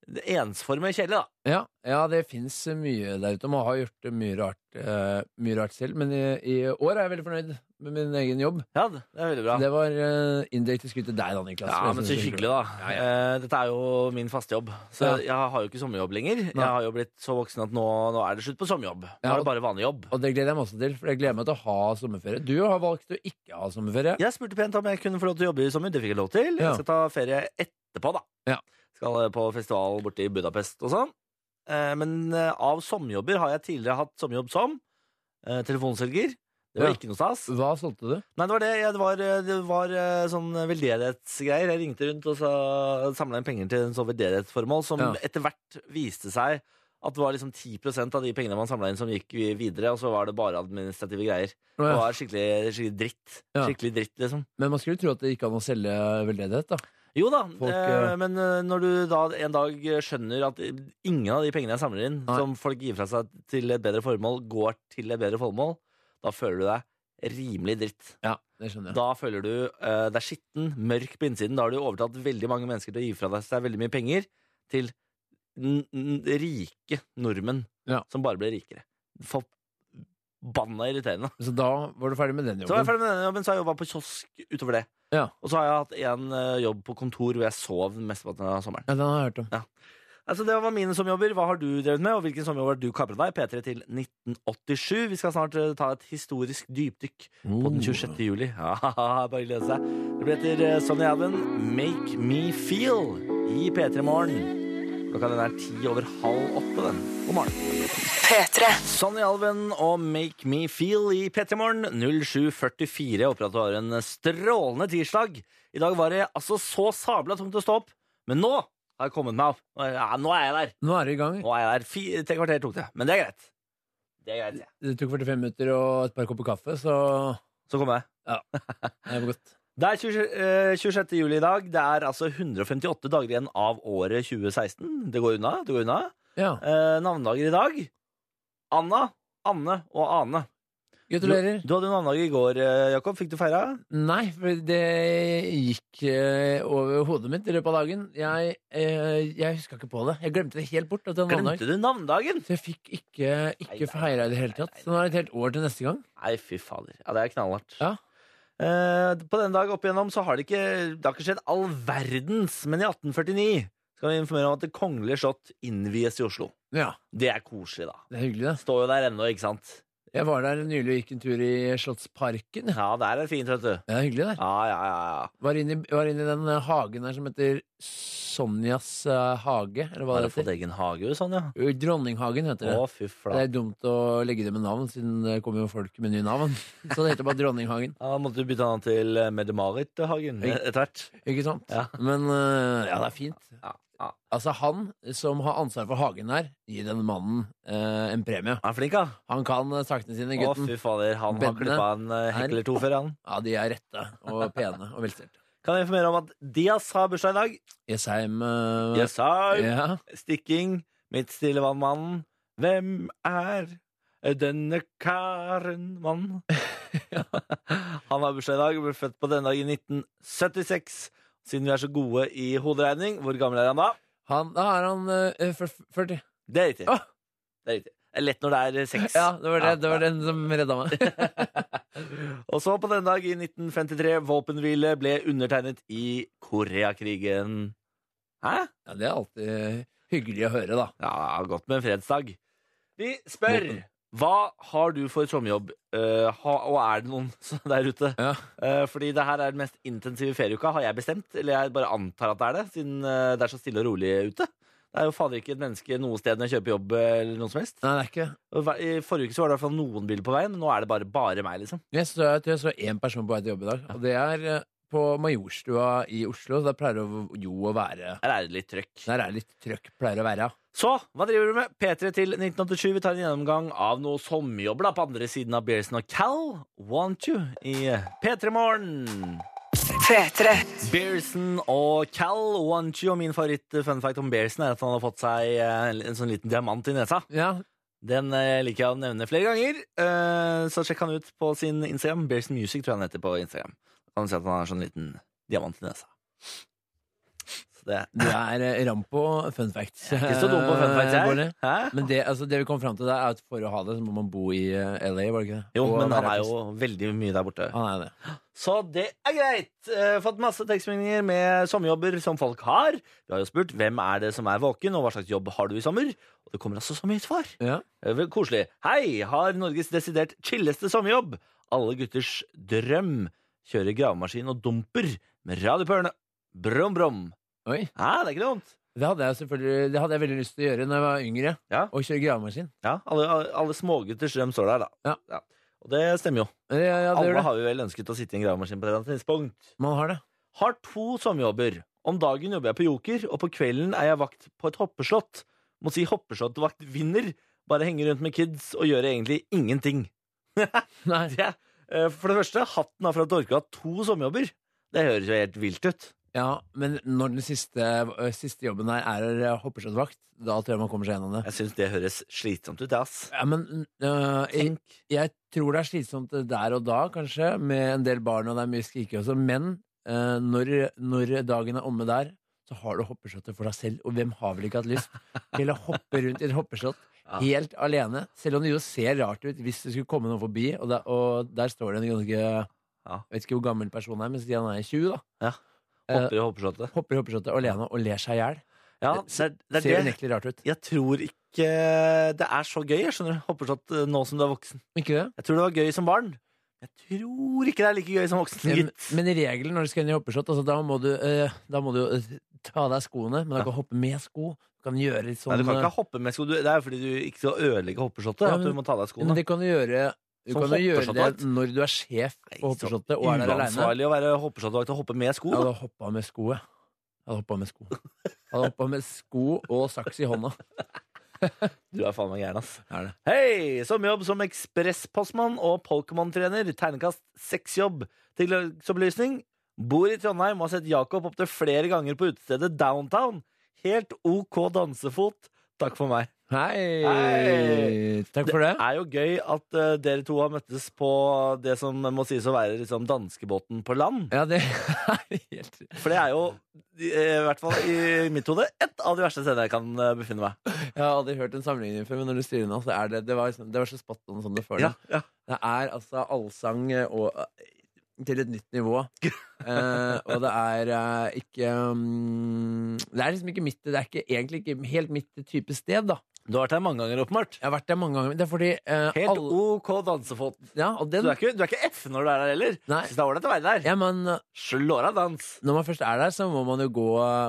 Speaker 2: ensformige kjedelige, da.
Speaker 4: Ja, ja, det fins mye der ute. Man har gjort det mye rart, eh, mye rart selv, men i, i år er jeg veldig fornøyd med min egen jobb.
Speaker 2: Ja, det er veldig bra.
Speaker 4: Det var eh, indirekte skutt til deg, da, Niklas.
Speaker 2: Ja, men så hyggelig, da. Eh, Dette er jo min faste jobb. Så
Speaker 4: Ja.
Speaker 2: jeg har jo ikke sommerjobb lenger. Jeg har jo blitt så voksen at nå, nå er det slutt på sommerjobb. Nå
Speaker 4: Ja,
Speaker 2: er
Speaker 4: og-
Speaker 2: det bare vanlig jobb.
Speaker 4: Og det gleder jeg meg også til, for jeg gleder meg til å ha sommerferie. Du har valgt å ikke ha sommerferie.
Speaker 2: Jeg spurte pent om jeg kunne få lov til å jobbe i sommer. Det fikk jeg lov til.
Speaker 4: Ja.
Speaker 2: Jeg skal ta ferie etterpå, da.
Speaker 4: Ja.
Speaker 2: Skal eh, på festival borte i Budapest og sånn. Eh, Men eh, av sommerjobber har jeg tidligere hatt sommerjobb som eh, telefonselger. Det var
Speaker 4: Ja.
Speaker 2: ikke noe stas.
Speaker 4: Hva solgte du?
Speaker 2: Nei, det var det. Ja, det var, eh, det var eh, sånn veldedighetsgreier. Jeg ringte rundt og sa- samla inn penger til en sånn veldedighetsformål, som
Speaker 4: Ja.
Speaker 2: etter hvert viste seg at det var liksom 10 av de pengene man samla inn, som gikk vi- videre, og så var det bare administrative greier.
Speaker 4: Å,
Speaker 2: Det
Speaker 4: ja.
Speaker 2: var skikkelig, skikkelig dritt.
Speaker 4: Ja.
Speaker 2: Skikkelig dritt, liksom.
Speaker 4: Men man skulle tro at det gikk an å selge veldedighet, da.
Speaker 2: Jo da,
Speaker 4: Folk,
Speaker 2: eh,
Speaker 4: eh,
Speaker 2: men eh, når du da en dag skjønner at ingen av de pengene jeg samler inn,
Speaker 4: Nei.
Speaker 2: som folk gir fra seg til et bedre formål, går til et bedre formål, da føler du deg rimelig dritt.
Speaker 4: Ja, det skjønner jeg.
Speaker 2: Da føler du eh, deg skitten, mørk på innsiden. Da har du overtatt veldig mange mennesker til å gi fra deg seg veldig mye penger til n n rike nordmenn
Speaker 4: Ja.
Speaker 2: som bare ble rikere. Forbanna irriterende.
Speaker 4: Så da var du ferdig med den jobben?
Speaker 2: Så var jeg ferdig med denne jobben, så har jeg jobba på kiosk utover det.
Speaker 4: Ja.
Speaker 2: Og så har jeg hatt en eh, jobb på kontor hvor jeg sov mesteparten av sommeren.
Speaker 4: Ja, den har jeg hørt om.
Speaker 2: Altså, det var mine sommerjobber. Hva har du drevet med, og hvilken sommerjobb har du kapret deg? P3 til 1987. Vi skal snart eh, ta et historisk dypdykk på
Speaker 4: Oh.
Speaker 2: den 26. juli. Ja, bare glede seg. Det blir etter eh, Sonny Allen, 'Make Me Feel', i P3 Morgen. Klokka den er ti over halv åtte, den. God morgen.
Speaker 3: P3.
Speaker 2: Sonny Alven og Make Me Feel i P3morgen 07.44. Jeg Håper at du har en strålende tirsdag. I dag var det altså så sabla tungt å stå opp, men nå har jeg kommet meg opp. Nå er- Ja, nå er jeg der.
Speaker 4: Nå er det i gang.
Speaker 2: Nå er jeg der. Fi, tre kvarter tok det, men det er greit. Det er greit, ja.
Speaker 4: Det tok 45 minutter og et par kopper kaffe, så
Speaker 2: Så kommer jeg.
Speaker 4: det er godt.
Speaker 2: Det er 20, eh, 26. juli i dag. Det er altså 158 dager igjen av året 2016. Det går unna. det går unna.
Speaker 4: Ja.
Speaker 2: Eh, navnedager i dag. Anna, Anne og Ane.
Speaker 4: Gratulerer.
Speaker 2: Du, du hadde navnedag i går, eh, Jakob. Fikk du feira?
Speaker 4: Nei, for det gikk eh, over hodet mitt i løpet av dagen. Jeg, eh, jeg huska ikke på det. Jeg glemte det helt bort. At det var mandag.
Speaker 2: Glemte du navnedagen?
Speaker 4: Så jeg fikk ikke,
Speaker 2: Nei,
Speaker 4: ikke
Speaker 2: nei,
Speaker 4: feira i det hele tatt. Så nå er det et helt år til neste gang.
Speaker 2: Nei, fy fader. Ja, det er knallhardt.
Speaker 4: Ja.
Speaker 2: Eh, på denne dag opp igjennom så har det ikke, det har ikke skjedd all verdens, men i 1849 skal vi informere om at det kongelige slott innvies i Oslo.
Speaker 4: Ja,
Speaker 2: Det er koselig, da.
Speaker 4: Det er hyggelig, det.
Speaker 2: Står jo der ennå, ikke sant?
Speaker 4: Jeg var der nylig og gikk en tur i Slottsparken. Ja.
Speaker 2: Ja, der er det fint, vet du.
Speaker 4: Det er hyggelig der.
Speaker 2: Ja, ja, ja. ja.
Speaker 4: Var inne, i- var inne i den eh, hagen der som heter Sonjas eh, hage, eller hva
Speaker 2: Har
Speaker 4: det
Speaker 2: du fått
Speaker 4: heter.
Speaker 2: egen hage, jo, Sonja?
Speaker 4: Jo, Dronninghagen heter det.
Speaker 2: Å, fy
Speaker 4: Det
Speaker 2: flate.
Speaker 4: er dumt å legge det med navn, siden det kommer jo folk med nye navn. Så det heter bare Dronninghagen.
Speaker 2: Ja, da måtte du bytte navn til eh, Mette-Marit-hagen
Speaker 4: Oi.
Speaker 2: etter hvert.
Speaker 4: Ikke sant?
Speaker 2: Ja.
Speaker 4: Men eh, ja, det er fint.
Speaker 2: Ja, ja.
Speaker 4: Altså, han som har ansvar for hagen der, gir den mannen eh, en premie.
Speaker 2: Han er flink, da.
Speaker 4: Han kan eh, sakene sine,
Speaker 2: Å,
Speaker 4: gutten.
Speaker 2: fy fader. Han har
Speaker 4: Beddene
Speaker 2: klippa en eh, hekk
Speaker 4: er-
Speaker 2: eller to før, han.
Speaker 4: Ja, de er rette og pene og velstelte.
Speaker 2: Kan jeg informere om at Diaz har bursdag i dag.
Speaker 4: Jessheim eh,
Speaker 2: Yes, sir.
Speaker 4: ja.
Speaker 2: Stikking, mitt stille vannmannen. Hvem er denne karen, mann? Han har bursdag i dag, ble født på denne dag i 1976. Siden vi er så gode i hoderegning, hvor gammel er han da?
Speaker 4: Han, Da er han eh, fyr- 40.
Speaker 2: Det er riktig.
Speaker 4: Åh!
Speaker 2: Det er riktig. Det er lett når det er seks.
Speaker 4: Ja, det var, det,
Speaker 2: Ja,
Speaker 4: det var den som redda meg.
Speaker 2: Og så på denne dag i 1953, våpenhvile ble undertegnet i Koreakrigen. Hæ?
Speaker 4: Ja, det er alltid hyggelig å høre, da.
Speaker 2: Ja, godt med en fredsdag. Vi spør hva har du for sommerjobb, Eh, ha, og er det noen som er der ute?
Speaker 4: Ja.
Speaker 2: Eh, fordi det her er den mest intensive ferieuka, har jeg bestemt. Eller jeg bare antar at det er det, siden eh, det er så stille og rolig ute. Det er jo fader ikke et menneske noe sted når jeg kjøper jobb eh, eller noe som helst.
Speaker 4: Nei, det er ikke det.
Speaker 2: Og hver- I forrige uke så var det i hvert fall noen biler på veien, nå er det bare, bare meg, liksom.
Speaker 4: Jeg så, jeg tror jeg så én person på vei til jobb i dag, og det er eh, på Majorstua i Oslo. Der pleier det jo å være
Speaker 2: Her er det litt trøkk.
Speaker 4: Der er det litt trøkk, pleier å være.
Speaker 2: Så, hva driver du med? P3 til 1987. Vi tar en gjennomgang av noen sommerjobber da, på andre siden av Bearson og Cal. Want you i P3 Morgen.
Speaker 3: P3.
Speaker 2: Bearson og Cal Want you. Og min favoritt fun fact om Bearson er at han har fått seg eh, en sånn liten diamant i nesa.
Speaker 4: Ja,
Speaker 2: Den eh, liker jeg å nevne flere ganger. Eh, Så sjekk han ut på sin Instagram. Bearson Music tror jeg han heter på Instagram. Kan du se at han har sånn liten diamant i nesa. Så det
Speaker 4: Du er eh, ram på fun facts.
Speaker 2: er ikke så dumt på fun fact her.
Speaker 4: Eh, Bårdli.
Speaker 2: Hæ?
Speaker 4: Men det, altså, det vi kom fram til, der, er at for å ha det, så må man bo i eh, LA, var det ikke det?
Speaker 2: Jo,
Speaker 4: Og
Speaker 2: men han
Speaker 4: være
Speaker 2: er jo veldig mye der borte.
Speaker 4: artist. Han er det.
Speaker 2: Så det er greit. Eh, fått masse tekstmeldinger med sommerjobber som folk har. Vi har jo spurt hvem er det som er våken, og hva slags jobb har du i sommer? Og det kommer altså så mye svar.
Speaker 4: Ja.
Speaker 2: Eh, vel, Koselig. Hei! Har Norges desidert chilleste sommerjobb. Alle gutters drøm. Kjører gravemaskin og dumper med radio på ørene. Brom, brom.
Speaker 4: Oi.
Speaker 2: Ja, det er ikke noe vondt.
Speaker 4: Det hadde jeg selvfølgelig Det hadde jeg veldig lyst til å gjøre når jeg var yngre.
Speaker 2: Ja.
Speaker 4: Å kjøre gravemaskin.
Speaker 2: Ja, alle, alle- alle smågutters drøm står der, da.
Speaker 4: Ja.
Speaker 2: Og det stemmer jo.
Speaker 4: Ja, ja, ja, det gjør
Speaker 2: Alle
Speaker 4: det.
Speaker 2: har jo vel ønsket å sitte i en gravemaskin på et eller annet tidspunkt.
Speaker 4: Man har det.
Speaker 2: Har to sommerjobber. Om dagen jobber jeg på Joker, og på kvelden er jeg vakt på et hoppeslott. Må si hoppeslotttvakt vinner. Bare henge rundt med kids og gjøre egentlig ingenting.
Speaker 4: Nei.
Speaker 2: Det, eh, for det første, hatten av for at du orker å ha to sommerjobber. Det høres jo helt vilt ut.
Speaker 4: Ja, men når den siste, ø, siste jobben her er ø, hoppeslottvakt, da tror jeg man kommer seg gjennom det.
Speaker 2: Jeg syns det høres slitsomt ut, ass.
Speaker 4: Ja, men ø, jeg,
Speaker 2: Tenk.
Speaker 4: jeg tror det er slitsomt øh, der og da, kanskje, med en del barn og det er mye skriking også, men ø, når, når dagen er omme der, så har du hoppeslottet for deg selv, og hvem har vel ikke hatt lyst til å hoppe rundt i et hoppeslott
Speaker 2: Ja.
Speaker 4: helt alene? Selv om det jo ser rart ut hvis det skulle komme noen forbi, og der, og der står det en ganske
Speaker 2: Ja.
Speaker 4: Jeg vet ikke hvor gammel personen er, men si han er 20, da.
Speaker 2: Hopper i hoppeslottet. Eh,
Speaker 4: Hopper i hoppeslottet alene og ler seg i hjel.
Speaker 2: Ja, det er, det er
Speaker 4: Ser
Speaker 2: det.
Speaker 4: unektelig rart ut.
Speaker 2: Jeg tror ikke det er så gøy, jeg skjønner du. Hoppeslott eh, nå som du er voksen.
Speaker 4: Ikke det?
Speaker 2: Jeg tror det var gøy som barn. Jeg tror ikke det er like gøy som voksen,
Speaker 4: Men,
Speaker 2: gitt.
Speaker 4: men regelen når du skal inn i hoppeshot, altså, da må du, eh, da må du eh, ta av deg skoene, men du kan ikke hoppe med sko. Du kan gjøre litt sånn
Speaker 2: Nei, du kan
Speaker 4: eh,
Speaker 2: ikke hoppe med sko. Du- Det er jo fordi du ikke skal ødelegge hoppeshottet.
Speaker 4: Ja,
Speaker 2: At du
Speaker 4: men-
Speaker 2: må ta av deg skoene.
Speaker 4: Men det kan du gjøre du
Speaker 2: Som
Speaker 4: kan jo gjøre
Speaker 2: hoppeshotvakt?
Speaker 4: det når du er sjef på
Speaker 2: Nei, så
Speaker 4: hoppeshotet og er der aleine.
Speaker 2: Uansvarlig å være hoppeshotvakt og hoppe med sko.
Speaker 4: Jeg
Speaker 2: da.
Speaker 4: hadde hoppa med sko, jeg. Jeg hadde hoppa med sko. Jeg hadde hoppa med sko og saks i hånda.
Speaker 2: Du er faen meg gæren, ass.
Speaker 4: Er det.
Speaker 2: Hei! Sommerjobb som ekspresspostmann og Pokémon-trener. Tegnekast sexjobb. Til opplysning bor i Trondheim og har sett Jakob opptil flere ganger på utestedet Downtown. Helt OK dansefot. Takk for meg.
Speaker 4: Hei.
Speaker 2: Hei.
Speaker 4: Takk for det.
Speaker 2: Det er jo gøy at eh, dere to har møttes på det som må sies å være liksom, danskebåten på land.
Speaker 4: Ja, det er helt
Speaker 2: For det er jo, i eh, hvert fall i mitt hode, ett av de verste stedene jeg kan eh, befinne meg.
Speaker 4: Jeg har aldri hørt en sammenligning før, men når du sier det nå, så er det Det var, liksom, det var så spot on som det føles.
Speaker 2: ja.
Speaker 4: Det er altså allsang eh, og til et nytt nivå. Eh, og det er eh, ikke mm, Det er liksom ikke mitt Det er ikke, egentlig ikke helt mitt type sted, da.
Speaker 2: Du har vært her mange ganger, åpenbart.
Speaker 4: Jeg har vært der mange ganger. men Det er fordi eh,
Speaker 2: Helt
Speaker 4: alle-
Speaker 2: OK dansefot.
Speaker 4: ja, og
Speaker 2: Du
Speaker 4: den,
Speaker 2: er ikke, du er ikke F når du er der heller.
Speaker 4: Nei.
Speaker 2: Synes det er ålreit å være der.
Speaker 4: ja, men eh,
Speaker 2: Slår av dans.
Speaker 4: når man først er der, så må man jo gå,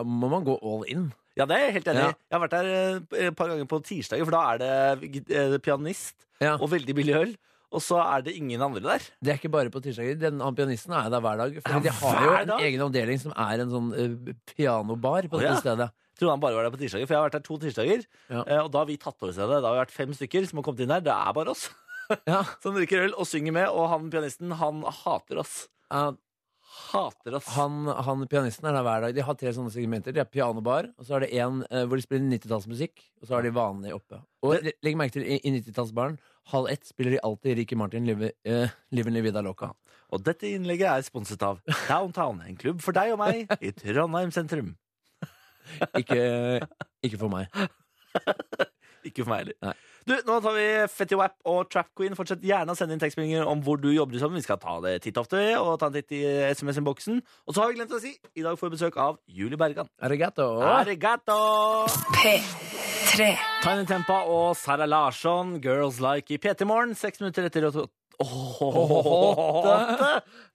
Speaker 4: må man gå all in.
Speaker 2: Ja, det er jeg helt enig i.
Speaker 4: Ja.
Speaker 2: Jeg har vært der eh, et par ganger på tirsdager, for da er det git- eh, pianist
Speaker 4: Ja.
Speaker 2: og veldig billig øl. Og så er det ingen andre der.
Speaker 4: Det er ikke bare på tirsdager. Den han pianisten er der hver dag.
Speaker 2: Ja,
Speaker 4: For de har jo
Speaker 2: hver
Speaker 4: en
Speaker 2: dag?
Speaker 4: egen avdeling som er en sånn eh, pianobar på
Speaker 2: Å,
Speaker 4: dette
Speaker 2: ja.
Speaker 4: stedet.
Speaker 2: Trodde han bare var der på tirsdager, for jeg har vært der to tirsdager.
Speaker 4: Ja.
Speaker 2: eh, Og da har vi tatt over stedet. Da har vi vært fem stykker som har kommet inn der. Det er bare oss
Speaker 4: Ja.
Speaker 2: som drikker øl og synger med. Og han pianisten, han hater oss.
Speaker 4: Eh,
Speaker 2: Hater oss.
Speaker 4: han, han pianisten er der hver dag. De har tre sånne segmenter. De har pianobar, og så er det en eh, hvor de spiller 90-tallsmusikk, og så har de vanlig oppe. Og le- legg merke til, i, i 90-tallsbaren, halv ett spiller de alltid Ricky Martin, Live, eh, Liven Livida Loca.
Speaker 2: Og dette innlegget er sponset av Downtown, en klubb for deg og meg i Trondheim sentrum.
Speaker 4: Ikke, ikke for meg.
Speaker 2: Ikke for meg
Speaker 4: Nei.
Speaker 2: heller. Du, Nå tar vi Fetty Wap og Trap Queen. Fortsett gjerne å sende inn tekstmeldinger om hvor du jobber sammen. Vi skal ta det titt ofte og ta en titt i SMS-innboksen. Og så har vi glemt å si i dag får vi besøk av Julie Bergan.
Speaker 4: Arigato!
Speaker 2: Arigato!
Speaker 3: P3.
Speaker 2: Tiny Tempa og Sara Larsson, Girls Like i PT Morgen. Seks minutter etter åtte.
Speaker 4: Åtte.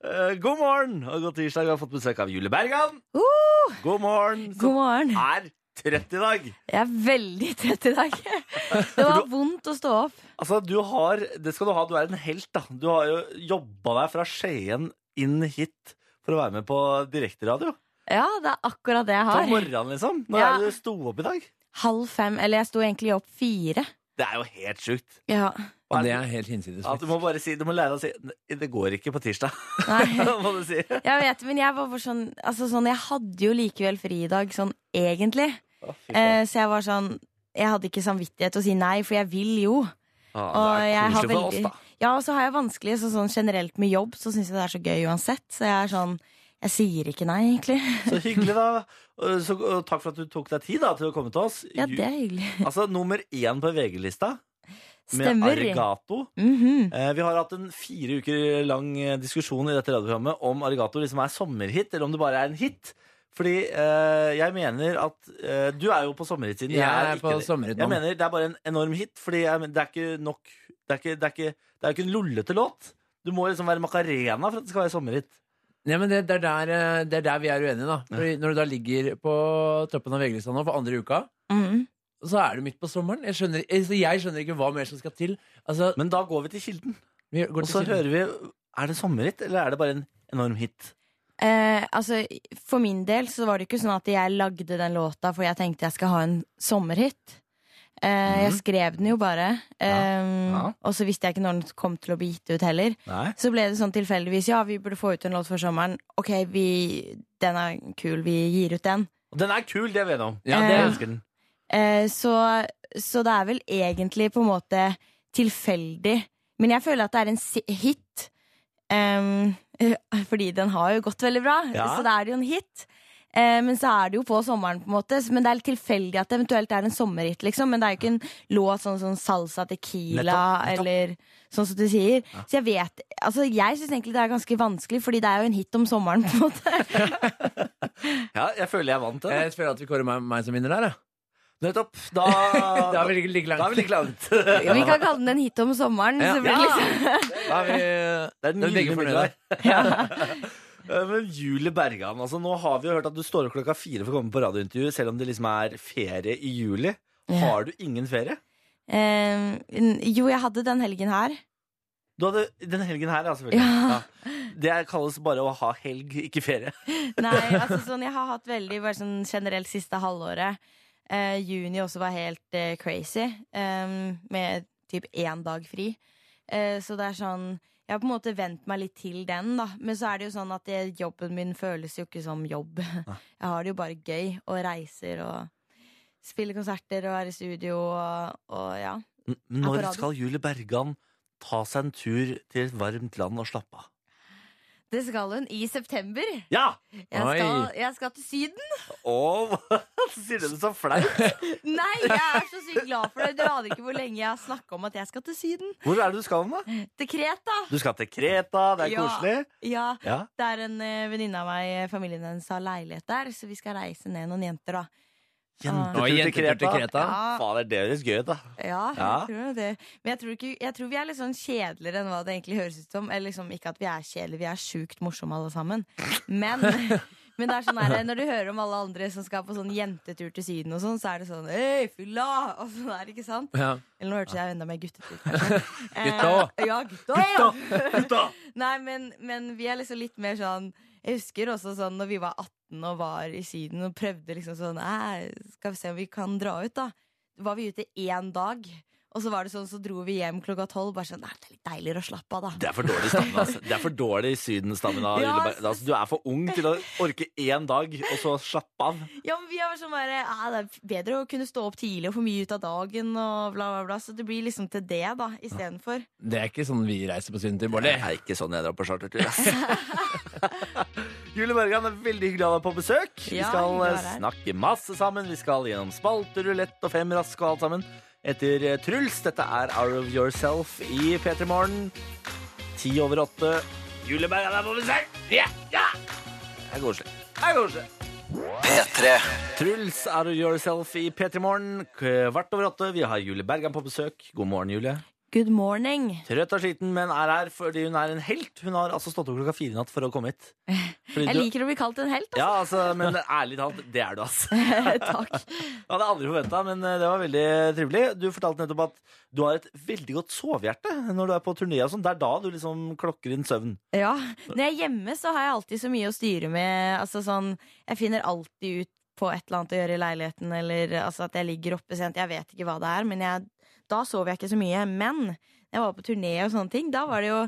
Speaker 2: Eh, God morgen og god tirsdag. Vi har fått besøk av Julie Bergan. God morgen.
Speaker 5: Uh! God morgen.
Speaker 2: Som er trett i dag.
Speaker 5: Jeg er veldig trett i dag. Det var vondt å stå opp.
Speaker 2: Altså, du har Det skal du ha. Du er en helt, da. Du har jo jobba deg fra Skien inn hit for å være med på direkteradio.
Speaker 5: Ja, det er akkurat det jeg
Speaker 2: På
Speaker 5: har.
Speaker 2: morgenen, liksom. Når
Speaker 5: Ja.
Speaker 2: er det du sto opp i dag?
Speaker 5: Halv fem, eller jeg sto egentlig opp fire.
Speaker 2: Det er jo helt sjukt.
Speaker 5: Ja,
Speaker 2: Hva er
Speaker 4: Det
Speaker 2: det?
Speaker 4: er helt hinsides.
Speaker 2: At du må bare si Du må lære deg å si "Nei, Det går ikke på tirsdag,
Speaker 5: nei.
Speaker 2: må du si.
Speaker 5: Jeg vet, men jeg var bare sånn, altså sånn Jeg hadde jo likevel fri i dag, sånn egentlig.
Speaker 2: Å, fy faen.
Speaker 5: Eh, så jeg var sånn Jeg hadde ikke samvittighet til å si nei, for jeg vil jo.
Speaker 2: Ah, det er
Speaker 5: og jeg har
Speaker 2: koselig for
Speaker 5: veldig-
Speaker 2: oss, da.
Speaker 5: Ja, og så har jeg vanskelig så sånn generelt med jobb, så syns jeg det er så gøy uansett. Så jeg er sånn Jeg sier ikke nei, egentlig.
Speaker 2: Så hyggelig, da. Og Så, og takk for at du tok deg tid da, til å komme til oss.
Speaker 5: Ja,
Speaker 2: Ju-
Speaker 5: det er hyggelig.
Speaker 2: Altså, Nummer én på VG-lista med
Speaker 5: Stemmer.
Speaker 2: Arigato.
Speaker 5: Mhm.
Speaker 2: Eh, vi har hatt en fire uker lang eh, diskusjon i dette radioprogrammet om Arigato liksom er sommerhit, eller om det bare er en hit. Fordi eh, jeg mener at eh, Du er jo på sommerhitsiden.
Speaker 4: Jeg er
Speaker 2: ikke
Speaker 4: på
Speaker 2: det.
Speaker 4: sommerhit nå.
Speaker 2: Jeg mener det er bare en enorm hit, fordi jeg, men- det er ikke nok Det er ikke, det er ikke, det er ikke en lollete låt. Du må liksom være Macarena for at det skal være sommerhit.
Speaker 4: Nei, men det, det, er der, eh, det er der vi er uenige, da. Fordi når du da ligger på toppen av VG-lista nå for andre uka,
Speaker 5: Mhm.
Speaker 4: så er du midt på sommeren. Jeg skjønner, altså, jeg skjønner ikke hva mer som skal til. Altså,
Speaker 2: Men da går vi til kilden,
Speaker 4: vi går
Speaker 2: og så
Speaker 4: til siden.
Speaker 2: hører vi Er det sommerhit, eller er det bare en enorm hit?
Speaker 5: Eh, altså, for min del så var det ikke sånn at jeg lagde den låta for jeg tenkte jeg skal ha en sommerhit. Eh, Jeg skrev den jo bare, eh,
Speaker 2: Mhm. Ja.
Speaker 5: og så visste jeg ikke når den kom til å bli gitt ut heller.
Speaker 2: Nei.
Speaker 5: Så ble det sånn tilfeldigvis ja, vi burde få ut en låt før sommeren. Ok, vi, den er kul, vi gir ut den.
Speaker 2: Og den er kul, det er vi enige om.
Speaker 4: Ja,
Speaker 5: det-
Speaker 2: Jeg elsker den.
Speaker 5: Eh, så, så det er vel egentlig på en måte tilfeldig. Men jeg føler at det er en si- hit. Ehm, eh, fordi den har jo gått veldig bra,
Speaker 2: Ja.
Speaker 5: så da er det jo en hit. Eh, men så er det jo på sommeren, på en måte. Men det er litt tilfeldig at det eventuelt er en sommerhit, liksom. Men det er jo ikke en låt sånn som Salsa Tequila
Speaker 2: Nettopp, nettopp.
Speaker 5: eller sånn som du sier. Så jeg vet Altså, jeg syns egentlig det er ganske vanskelig, fordi det er jo en hit om sommeren, på en måte.
Speaker 2: Ja, jeg føler jeg vant det.
Speaker 4: Eh, Jeg føler at vi kårer meg, meg som vinner der, jeg.
Speaker 2: Nettopp. Da,
Speaker 4: Da er vi like langt.
Speaker 2: da er vi like langt.
Speaker 5: Ja, vi kan kalle den en hit om sommeren.
Speaker 4: Ja.
Speaker 5: Så blir det liksom.
Speaker 4: Da er vi,
Speaker 2: Det er den
Speaker 4: da er vi
Speaker 2: gylne
Speaker 4: begge fornøyde.
Speaker 2: middelvei. Eh, Men Julie Bergan, altså nå har vi jo hørt at du står opp klokka fire for å komme på radiointervju, selv om det liksom er ferie i juli.
Speaker 5: Ja.
Speaker 2: Har du ingen ferie?
Speaker 5: Eh, jo, jeg hadde den helgen her.
Speaker 2: Du hadde den helgen her, ja, selvfølgelig.
Speaker 5: Ja.
Speaker 2: Ja. Det kalles bare å ha helg, ikke ferie.
Speaker 5: Nei, altså sånn, jeg har hatt veldig bare sånn generelt siste halvåret. Eh, juni også var helt eh, crazy, eh, med typ én dag fri. Eh, så det er sånn Jeg har på en måte vent meg litt til den, da. Men så er det jo sånn at det, jobben min føles jo ikke som jobb. Jeg har det jo bare gøy, og reiser og spiller konserter og er i studio og, og ja.
Speaker 2: N- Men
Speaker 5: Ja, på
Speaker 2: når
Speaker 5: radio.
Speaker 2: skal Julie Bergan ta seg en tur til et varmt land og slappe av?
Speaker 5: Det skal hun i september.
Speaker 2: Ja!
Speaker 5: Jeg
Speaker 4: Oi.
Speaker 5: skal, jeg skal til Syden.
Speaker 2: Åh, sier du det så flaut?
Speaker 5: Nei, jeg er så sykt glad for det. Du aner ikke hvor lenge jeg har snakka om at jeg skal til Syden.
Speaker 2: Hvor er det du skal med?
Speaker 5: Til Kreta.
Speaker 2: Du skal til Kreta, det er
Speaker 5: Ja.
Speaker 2: koselig.
Speaker 5: Ja,
Speaker 2: Ja.
Speaker 5: det er en eh, venninne av meg, eh, familien hennes har leilighet der, så vi skal reise ned noen jenter, da.
Speaker 2: Jentetur
Speaker 4: Oi,
Speaker 2: til
Speaker 4: jentetur til
Speaker 2: Kreta.
Speaker 4: Kreta.
Speaker 5: Ja.
Speaker 2: Fader, det høres gøy ut, da. Ja.
Speaker 5: Ja, jeg tror jo det. Men jeg tror, ikke, jeg tror vi er litt sånn kjedeligere enn hva det egentlig høres ut som. Eller liksom ikke at vi er kjedelige, vi er sjukt morsomme alle sammen. Men, men det er sånn her, når du hører om alle andre som skal på sånn jentetur til Syden og sånn, så er det sånn Øy, fylla! Og sånn er det, ikke sant?
Speaker 4: Ja.
Speaker 5: Eller nå hørtes jeg enda mer guttete ut. kanskje.
Speaker 4: Gutta!
Speaker 5: Eh, ja, gutta!
Speaker 2: Gutta!
Speaker 5: Nei, men, men vi er liksom litt mer sånn Jeg husker også sånn når vi var 18 og var i Syden og prøvde liksom sånn «Æ, Skal vi se om vi kan dra ut, da. Var vi ute én dag, og så var det sånn, så dro vi hjem klokka tolv. Bare sånn Nei, det er litt deiligere å slappe av, da.
Speaker 2: Det er for dårlig stamina. ass. Det er for dårlig Syden-stamina.
Speaker 5: Ja,
Speaker 2: Julie Berg. Altså, du er for ung til å orke én dag, og så slappe av.
Speaker 5: Ja, men vi er sånn bare «Æ, Det er bedre å kunne stå opp tidlig og få mye ut av dagen og bla, bla, bla. Så det blir liksom til det, da, istedenfor.
Speaker 4: Det er ikke sånn vi reiser på sydentur,
Speaker 2: Det
Speaker 4: Bårdli.
Speaker 2: er ikke sånn jeg drar på chartertur, ass. Julie Bergan er veldig hyggelig å ha deg på besøk. Vi
Speaker 5: Ja,
Speaker 2: skal
Speaker 5: hyggelig å
Speaker 2: eh,
Speaker 5: være her.
Speaker 2: snakke masse sammen. Vi skal gjennom spalte, rulett og fem raske og alt sammen. Etter eh, Truls. Dette er Out of Yourself i P3 Morgen. Ti over åtte. Julie Bergan er på besøk! Ja! ja! Det er koselig. Det er koselig.
Speaker 1: P3.
Speaker 2: Truls Out of Yourself i P3 Morgen. Kvart over åtte. Vi har Julie Bergan på besøk. God morgen, Julie.
Speaker 5: Good morning.
Speaker 2: Trøtt og sliten, men er her fordi hun er en helt. Hun har altså stått opp klokka fire i natt for å komme hit. Fordi du-
Speaker 5: Jeg liker å bli kalt en helt, da.
Speaker 2: Ja, altså, men ærlig talt, det er du, altså.
Speaker 5: Takk.
Speaker 2: Det hadde jeg aldri forventa, men eh, det var veldig trivelig. Du fortalte nettopp at du har et veldig godt sovehjerte når du er på turné og sånn. Det er da du liksom klokker inn søvn.
Speaker 5: Ja, Når jeg er hjemme, så har jeg alltid så mye å styre med. Altså sånn, Jeg finner alltid ut på et eller annet å gjøre i leiligheten, eller altså at jeg ligger oppe sent. Jeg vet ikke hva det er, men jeg, da sover jeg ikke så mye. Men når jeg var på turné og sånne ting, da var det jo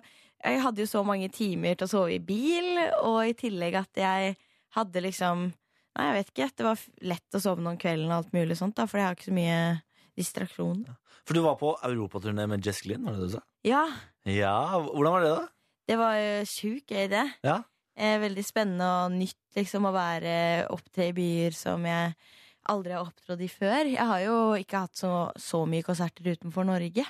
Speaker 5: Jeg hadde jo så mange timer til å sove i bil, og i tillegg at jeg hadde liksom Nei, jeg vet ikke. Det var f- lett å sovne om kvelden og alt mulig sånt, da, for jeg har ikke så mye distraksjon.
Speaker 2: For du var på europaturné med Jess Glynn, var det det du sa?
Speaker 5: Ja,
Speaker 2: Ja, hvordan var det, da?
Speaker 5: det var jo sjukt gøy, det.
Speaker 2: Ja.
Speaker 5: Eh, veldig spennende og nytt liksom, å være opptre i byer som jeg aldri har opptrådt i før. Jeg har jo ikke hatt så, så mye konserter utenfor Norge,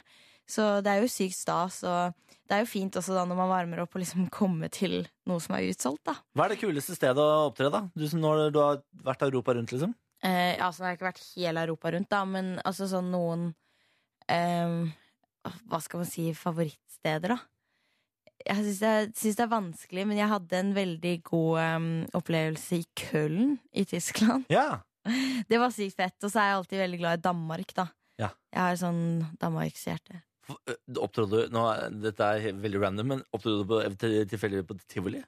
Speaker 5: så det er jo sykt stas. Og det er jo fint også da når man varmer opp og liksom komme til noe som er utsolgt, da.
Speaker 2: Hva er det kuleste stedet å opptre, da? Du som når du har vært Europa rundt, liksom?
Speaker 5: Eh, altså, det har ikke vært hele Europa rundt, da, men altså sånn noen eh, Hva skal man si favorittsteder, da? Jeg syns det, er- synes det er vanskelig, men jeg hadde en veldig god eh, opplevelse i Køln i Tyskland.
Speaker 2: Ja.
Speaker 5: Det var sykt fett. Og så er jeg alltid veldig glad i Danmark, da.
Speaker 2: Ja.
Speaker 5: Jeg har sånn Danmarkshjerte.
Speaker 2: F- du Opptrådde du nå, er- Dette er he- veldig random, men opptrådde du på, til- tilfeldigvis på tivoli?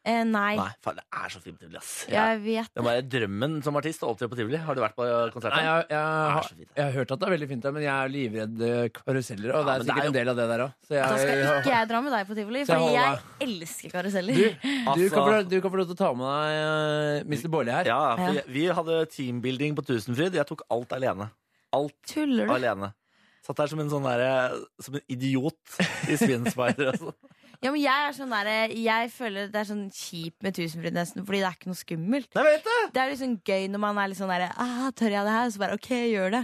Speaker 5: Eh, nei.
Speaker 2: Nei, faen, det er så fint tivoli, ass.
Speaker 5: Jeg vet
Speaker 2: Det er bare drømmen som artist å opptre på tivoli. Har du vært på konsert?
Speaker 4: Nei, jeg, jeg,
Speaker 2: det er
Speaker 4: har-
Speaker 2: så fint.
Speaker 4: jeg har hørt at det er veldig fint der, men jeg er livredd eh, karuseller,
Speaker 2: Ja,
Speaker 4: og det er
Speaker 2: men det er
Speaker 4: sikkert en del av det der òg. Så jeg,
Speaker 5: Da skal ikke jeg dra med deg på tivoli,
Speaker 4: Så jeg
Speaker 5: Fordi jeg
Speaker 4: holder
Speaker 5: elsker karuseller.
Speaker 4: du, du,
Speaker 2: Altså-
Speaker 4: kan få, du kan få lov til å ta med deg eh, Mr. Bårli her.
Speaker 2: Ja, for
Speaker 5: Ja.
Speaker 2: jeg- Vi hadde teambuilding på Tusenfryd. Jeg tok alt alene. Alt
Speaker 5: Tuller du?
Speaker 2: alene. Satt der som en sånn derre Som en idiot i Svinsfire. Altså.
Speaker 5: Ja, men jeg er sånn der, Jeg føler det er sånn kjipt med Tusenfryd, nesten, fordi det er ikke noe skummelt.
Speaker 2: Nei, jeg vet det!
Speaker 5: sånn
Speaker 2: Mm.
Speaker 5: Det er liksom gøy når man er litt sånn der ah, Tør jeg det her? Så bare OK, gjør det.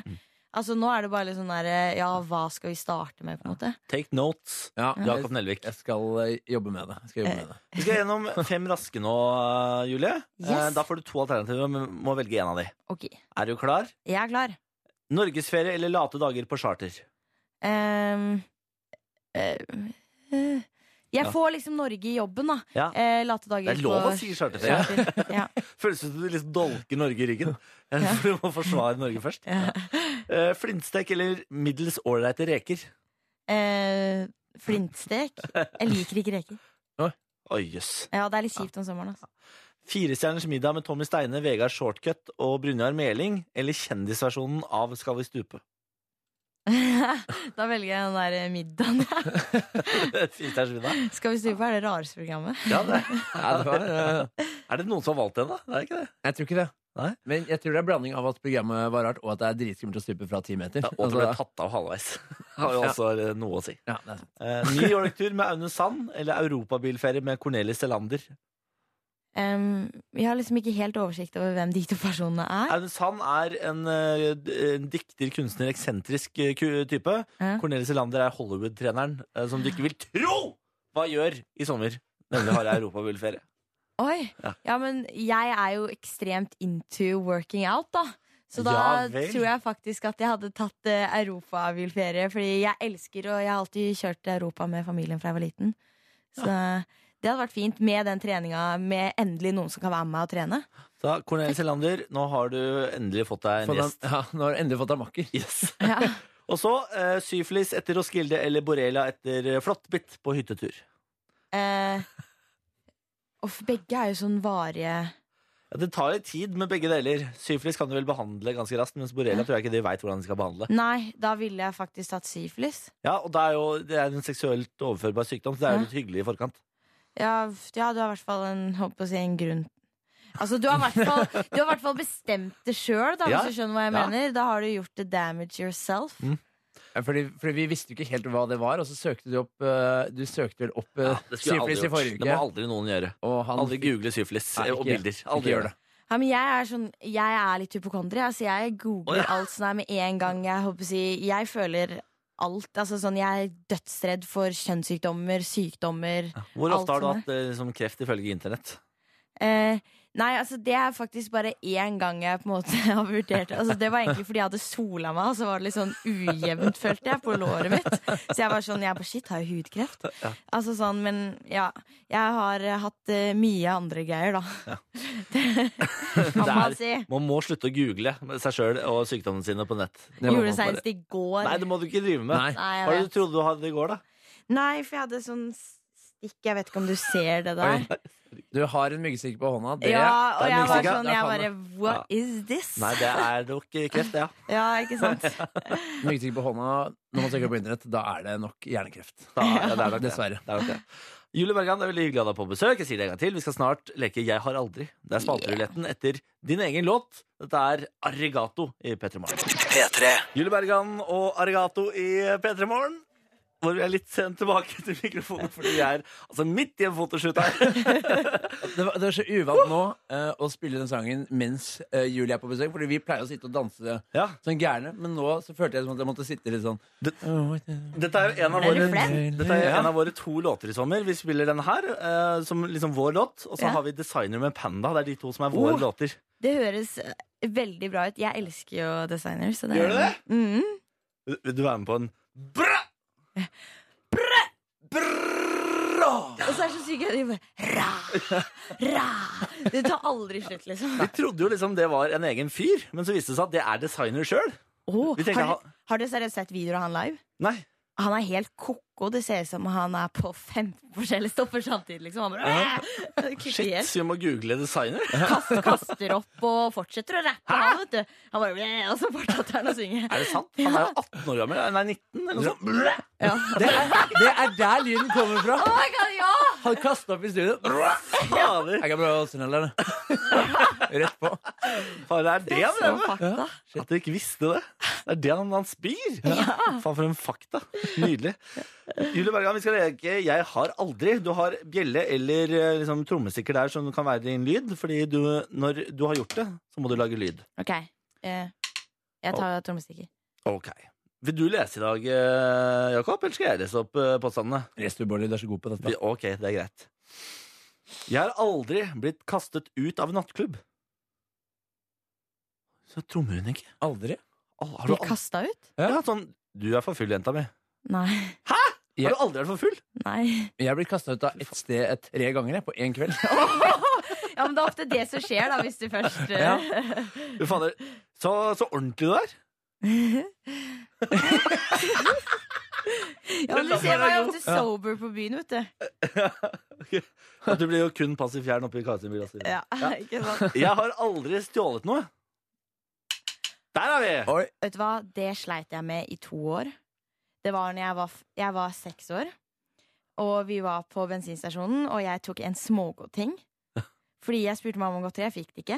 Speaker 5: Altså Nå er det bare litt sånn der eh, Ja, hva skal vi starte med, på en måte?
Speaker 2: Take notes.
Speaker 4: Ja,
Speaker 2: Jakob Nelvik.
Speaker 4: Jeg skal eh, jobbe med det. Jeg Skal jobbe med det.
Speaker 2: Vi skal gjennom fem raske nå, eh, Julie.
Speaker 5: Yes.
Speaker 2: Eh, Da får du to alternativer, men må velge en av de.
Speaker 5: Ok,
Speaker 2: Er du klar?
Speaker 5: jeg er klar.
Speaker 2: Norgesferie eller late dager på charter?
Speaker 5: Ehm, eh, eh, jeg
Speaker 2: Ja.
Speaker 5: får liksom Norge i jobben, da.
Speaker 2: Ja.
Speaker 5: Eh, late dager
Speaker 2: Det er lov
Speaker 5: på
Speaker 2: å si charterferie.
Speaker 5: charter. Ja.
Speaker 2: Føles som du liksom dolker Norge i ryggen. Eh, For du må forsvare Norge først.
Speaker 5: Ja.
Speaker 2: Eh, Flintstek eller middels ålreite reker?
Speaker 5: Eh, flintstek. Jeg liker ikke reker.
Speaker 2: Oi, jøss.
Speaker 5: Ja, det er litt kjipt om sommeren. Altså.
Speaker 2: Firestjerners middag med Tommy Steine, Vegard Shortcut og Brynjar Meling, eller kjendisversjonen av Skal vi stupe?
Speaker 5: da velger jeg den der eh, middagen. jeg.
Speaker 2: Firestjerners middag.
Speaker 5: Skal vi stupe? Er det rareste programmet?
Speaker 2: Ja, det.
Speaker 4: Ja, det var, eh,
Speaker 2: Er det noen som har valgt den, da? Det er ikke det.
Speaker 4: jeg tror ikke det.
Speaker 2: Nei.
Speaker 4: Men jeg tror det er blanding av at programmet var rart, og at det er dritskummelt å stupe fra ti meter.
Speaker 2: Ja,
Speaker 4: Altså,
Speaker 2: og at det ble tatt av halvveis. Altså, Har jo også eh, noe å si.
Speaker 4: ja, det er sant.
Speaker 2: Eh, New York-tur med Aune Sand eller europabilferie med Cornelis Selander?
Speaker 5: Ehm, vi har liksom ikke helt oversikt over hvem de to personene er.
Speaker 2: Aune Sand er en, eh, d- en dikter, kunstner, eksentrisk eh, ku- type.
Speaker 5: Ja.
Speaker 2: Cornelis Selander er Hollywood-treneren eh, som du ikke vil tro hva gjør i sommer. Nemlig har europabilferie.
Speaker 5: Oi!
Speaker 2: Ja.
Speaker 5: Ja, men jeg er jo ekstremt into working out, da. Så da
Speaker 2: Ja vel.
Speaker 5: tror jeg faktisk at jeg hadde tatt eh, europabilferie. Fordi jeg elsker, og jeg har alltid kjørt til Europa med familien fra jeg var liten. Så det hadde vært fint med den treninga, med endelig noen som kan være med meg og trene.
Speaker 2: Så Cornelis Selander, nå har du endelig fått deg en
Speaker 4: Fått
Speaker 2: gjest.
Speaker 4: han- Ja, nå har du endelig fått deg makker.
Speaker 2: Yes.
Speaker 5: Ja.
Speaker 2: Og så eh, syfilis etter Roskilde eller borrelia etter eh, flåttbitt på hyttetur.
Speaker 5: Eh, og begge er jo sånn varige
Speaker 2: Ja, det tar litt tid med begge deler. Syfilis kan du vel behandle ganske raskt, mens borrelia tror jeg ikke de veit hvordan de skal behandle.
Speaker 5: Nei, da ville jeg faktisk tatt syfilis.
Speaker 2: Ja, og det er jo det er en seksuelt overførbar sykdom, så det er
Speaker 5: Ja.
Speaker 2: jo litt hyggelig i forkant.
Speaker 5: Ja, f- ja du har i hvert fall en, holdt på å si, en grunn Altså, du har i hvert fall- du har i hvert fall bestemt det sjøl,
Speaker 2: Ja,
Speaker 5: hvis du skjønner hva jeg
Speaker 2: ja. Mm.
Speaker 5: mener. Da har du gjort the damage yourself.
Speaker 4: Ja, Fordi, fordi vi visste jo ikke helt hva det var, og så søkte du opp eh, Du søkte vel opp eh, syfilis i forrige
Speaker 2: Det må
Speaker 4: uke.
Speaker 2: aldri noen gjøre.
Speaker 4: Og han
Speaker 2: Aldri google syfilis eh,
Speaker 4: Nei,
Speaker 2: og
Speaker 4: ikke-
Speaker 2: bilder.
Speaker 4: ikke
Speaker 2: Aldri
Speaker 4: gjør
Speaker 2: gjør det.
Speaker 4: det.
Speaker 5: Ja, men jeg er, sånn, jeg er litt hypokondri. Altså, jeg googler
Speaker 2: Å, ja.
Speaker 5: alt som er med en gang. Jeg, håper å si, jeg føler alt. Altså, sånn, jeg er dødsredd for kjønnssykdommer, sykdommer
Speaker 2: Hvor
Speaker 5: Alt
Speaker 2: ofte har
Speaker 5: sånn
Speaker 2: du
Speaker 5: som
Speaker 2: hatt eh, liksom, kreft ifølge internett?
Speaker 5: Eh, nei, altså det er faktisk bare én gang jeg på en måte har vurdert det. Altså, det var egentlig fordi jeg hadde sola meg, og så var det litt sånn ujevnt, følte jeg, på låret mitt. Så jeg var sånn jeg bare, Shit, har jeg hudkreft? Altså sånn, Men ja. Jeg har eh, hatt eh, mye andre greier, da. Det kan man
Speaker 2: Det
Speaker 5: si.
Speaker 2: Man må slutte å google seg sjøl og sykdommene sine på nett.
Speaker 4: Det var
Speaker 5: Gjorde det
Speaker 4: bare-
Speaker 5: senest i går.
Speaker 2: Nei, det må du ikke drive med.
Speaker 4: Nei.
Speaker 2: Hva
Speaker 5: Nei, jeg
Speaker 2: var det
Speaker 5: vet.
Speaker 2: du trodde du hadde i går, da?
Speaker 5: Nei, for jeg hadde sånn stikk Jeg vet ikke om du ser det der.
Speaker 4: Oi, Du har en myggstikk på hånda. Det,
Speaker 5: ja, og
Speaker 2: det er
Speaker 5: jeg var
Speaker 2: mye
Speaker 5: sånn, jeg bare What is this?
Speaker 2: Nei, det er nok kreft, det, ja.
Speaker 5: Ja, ikke sant?
Speaker 4: Myggstikk på hånda når man søker på internett, da er det nok hjernekreft.
Speaker 2: Da, ja, det er nok det.
Speaker 4: Dessverre.
Speaker 2: Det er nok det. Julie Bergan, det er veldig hyggelig å ha deg på besøk. Jeg sier det en gang til. Vi skal snart leke Jeg har aldri. Det er spalteruletten etter din egen låt. Dette er Arigato i P3 Morgen.
Speaker 1: P3.
Speaker 2: Julie Bergan og Arigato i P3 Morgen. Hvor vi er litt sent tilbake til mikrofonen, fordi vi er altså midt i en fotoshoot her.
Speaker 4: Det, var, det er så uvant nå eh, å spille den sangen mens eh, Julie er på besøk, fordi vi pleier å sitte og danse
Speaker 2: Ja,
Speaker 4: sånn gærne, men nå så følte jeg som at jeg måtte sitte litt sånn
Speaker 2: Det- dette er jo en av
Speaker 5: Er du
Speaker 2: våre
Speaker 5: flau?
Speaker 2: dette er jo en av våre to låter i sommer. Vi spiller denne her eh, som liksom vår låt. Og så
Speaker 5: Ja.
Speaker 2: har vi Designer med Panda. Det er de to som er våre
Speaker 5: Oh.
Speaker 2: låter.
Speaker 5: Det høres eh, veldig bra ut. Jeg elsker jo designer. Så det
Speaker 2: Gjør du det?
Speaker 5: Mhm.
Speaker 2: Vil du være med på en bra?
Speaker 5: Og så er det så sykt at de bare ra, ra. Det tar aldri slutt, liksom.
Speaker 2: Vi trodde jo liksom det var en egen fyr, men så viste det seg at det er designer sjøl.
Speaker 5: Åh,
Speaker 2: Vi tenker
Speaker 5: har,
Speaker 2: han-
Speaker 5: du, har du seriøst sett videoer av han live?
Speaker 2: Nei.
Speaker 5: Han er helt koko. Det ser ut som han er på 15 forskjellige stoffer samtidig. Liksom. Han bare, "Æ!" Kutter
Speaker 2: Shit,
Speaker 5: helt,
Speaker 2: så vi må google designer.
Speaker 5: kast, kaster opp og fortsetter å rappe. Han, vet du. han bare "Æ!" Og så fortsetter han å synge.
Speaker 2: Er det sant? Han er jo 18 år gammel. Nei, 19 eller noe sånt.
Speaker 5: Ja.
Speaker 4: det er, det er der lyden kommer fra!
Speaker 5: Oh my God, ja!
Speaker 4: Han kasta opp i studio.
Speaker 2: Fader,
Speaker 4: Jeg kan prøve å snelle det. Rett på.
Speaker 2: fader, er det han
Speaker 5: Så
Speaker 2: drev med?
Speaker 5: fakta.
Speaker 2: At du ikke visste det. Det er det han, han spyr. Faen, for en fakta. Nydelig. Julie Bergan, vi skal leke Jeg har aldri. Du har bjelle eller eh, liksom, trommestikker der som kan være din lyd. Fordi du, når du har gjort det, så må du lage lyd.
Speaker 5: Ok. eh, Jeg tar trommestikker.
Speaker 2: Ok. Vil du lese i dag, eh, Jakob, eller skal jeg lese opp eh, påstandene?
Speaker 4: Lest du, Bårdli, du er så god på dette.
Speaker 2: Vi- Ok, det er greit. Jeg har aldri blitt kastet ut av en nattklubb. Så trommer hun ikke.
Speaker 4: Aldri.
Speaker 2: Al- Har du,
Speaker 5: Blir
Speaker 2: al-
Speaker 5: kasta ut?
Speaker 2: ja, sånn, du er for full, jenta mi.
Speaker 5: Nei.
Speaker 4: Ja.
Speaker 2: Har du aldri vært for full?
Speaker 5: Nei.
Speaker 4: Jeg er blitt kasta ut av et sted eh, tre ganger jeg, på én kveld.
Speaker 5: Ja, men det er ofte det som skjer, da, hvis du først eh,
Speaker 2: Du fader, så, så ordentlig du er.
Speaker 5: Ja, men du ser meg jo ofte sober på byen, vet du.
Speaker 2: At du blir jo kun passiv fjern oppi kasebila si.
Speaker 5: Ja, ikke sant?
Speaker 2: Jeg har aldri stjålet noe. Der er vi!
Speaker 4: Oi.
Speaker 5: Vet du hva, det sleit jeg med i to år. Det var når jeg var, f- jeg var seks år, og vi var på bensinstasjonen, og jeg tok en smågodting. Fordi jeg spurte mamma om godteri, jeg fikk det ikke.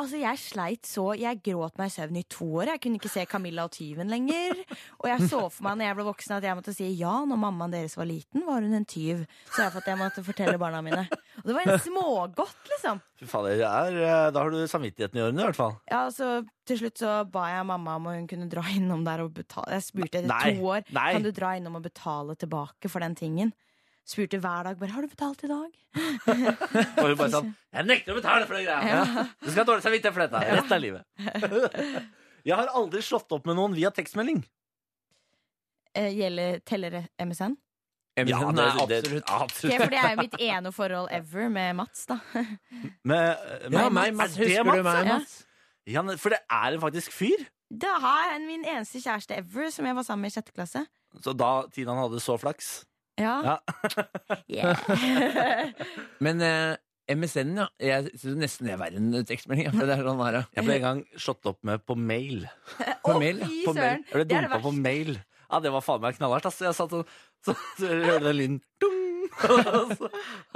Speaker 5: Altså, jeg sleit så, jeg gråt meg i søvn i to år. Jeg kunne ikke se Camilla og tyven lenger. Og jeg så for meg når jeg ble voksen at jeg måtte si ja, når mammaen deres var liten, var hun en tyv. Så jeg for at jeg måtte fortelle barna mine. Og det var en smågodt, liksom.
Speaker 2: Fy fader, det er, eh, da har du samvittigheten i orden, i hvert fall.
Speaker 5: Ja, og så Til slutt så ba jeg mamma om hun kunne dra innom der og betale. Jeg spurte etter
Speaker 2: Nei,
Speaker 5: to år
Speaker 2: nei.
Speaker 5: Kan du dra innom og betale tilbake for den tingen. Spurte hver dag bare 'Har du betalt i dag?'
Speaker 2: Og hun bare sånn Jeg nekter å betale for den greia! Du skal ha dårlig samvittighet for dette resten av livet. Jeg har aldri slått opp med noen via tekstmelding.
Speaker 5: Eh, gjelder teller MSN?
Speaker 4: Ja, nei, absolutt.
Speaker 5: Ok, for det er jo mitt ene forhold ever med Mats, da.
Speaker 2: Med- med-
Speaker 4: Ja, meg, Mats.
Speaker 2: Er det
Speaker 4: Husker du meg,
Speaker 5: Ja.
Speaker 4: Mats?
Speaker 2: Ja, men- for det er en faktisk fyr.
Speaker 5: Det har jeg min eneste kjæreste ever som jeg var sammen med i sjette klasse.
Speaker 2: Så da Tina hadde så flaks
Speaker 5: Ja.
Speaker 2: Ja.
Speaker 5: Yeah.
Speaker 4: Men eh, MSN, ja. Jeg syns nesten det er verre enn tekstmelding. ja, For det er sånn her, ja.
Speaker 2: Jeg ble en gang slått opp med på mail.
Speaker 4: På mail. ja.
Speaker 5: Fy
Speaker 2: På mail.
Speaker 5: søren!
Speaker 2: Jeg ble
Speaker 5: Det er det
Speaker 2: dumpa på
Speaker 5: verste.
Speaker 2: mail. Ja, det var faen meg knallhardt. ass. Jeg satt sånn, så, så hørte den lyden dung! og, så,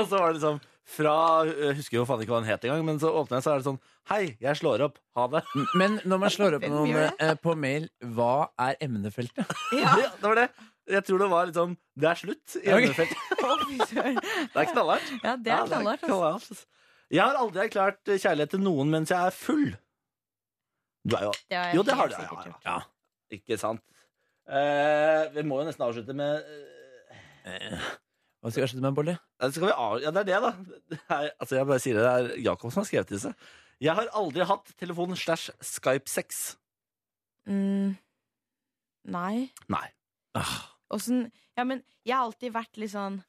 Speaker 2: og så var det liksom fra Jeg husker jo faen ikke hva den het engang, men så åpna jeg, så er det sånn Hei, jeg slår opp. Ha det.
Speaker 4: Men når man slår opp
Speaker 5: Hvem
Speaker 4: noen
Speaker 5: gjør det?
Speaker 4: eh, på mail, hva er emnefeltet?
Speaker 5: Ja.
Speaker 2: Ja, det var det. Jeg tror det var liksom Det er slutt i
Speaker 4: Ok.
Speaker 2: emnefeltet.
Speaker 5: Å, fy søren.
Speaker 2: Det er knallhardt.
Speaker 5: Ja, det
Speaker 2: Ja,
Speaker 5: er knallhardt. ass.
Speaker 2: knallhardt, ass. Jeg har aldri erklært kjærlighet til noen mens jeg er full. Du er jo
Speaker 5: Det har jeg
Speaker 2: Jo, det har
Speaker 5: helt
Speaker 2: du. Ja,
Speaker 5: sikkert
Speaker 2: ja,
Speaker 5: gjort.
Speaker 2: ja. Ikke sant. Eh, vi må jo nesten avslutte med eh,
Speaker 4: Hva skal jeg slutte med, Bolle?
Speaker 2: skal vi av... Ja, det er det, da. Det er, altså, jeg bare sier det. Det er Jakob som har skrevet disse. Jeg har aldri hatt telefon slash Skype-sex.
Speaker 5: Mm. Nei.
Speaker 2: Nei.
Speaker 5: Åssen sånn, Ja, men jeg har alltid vært litt sånn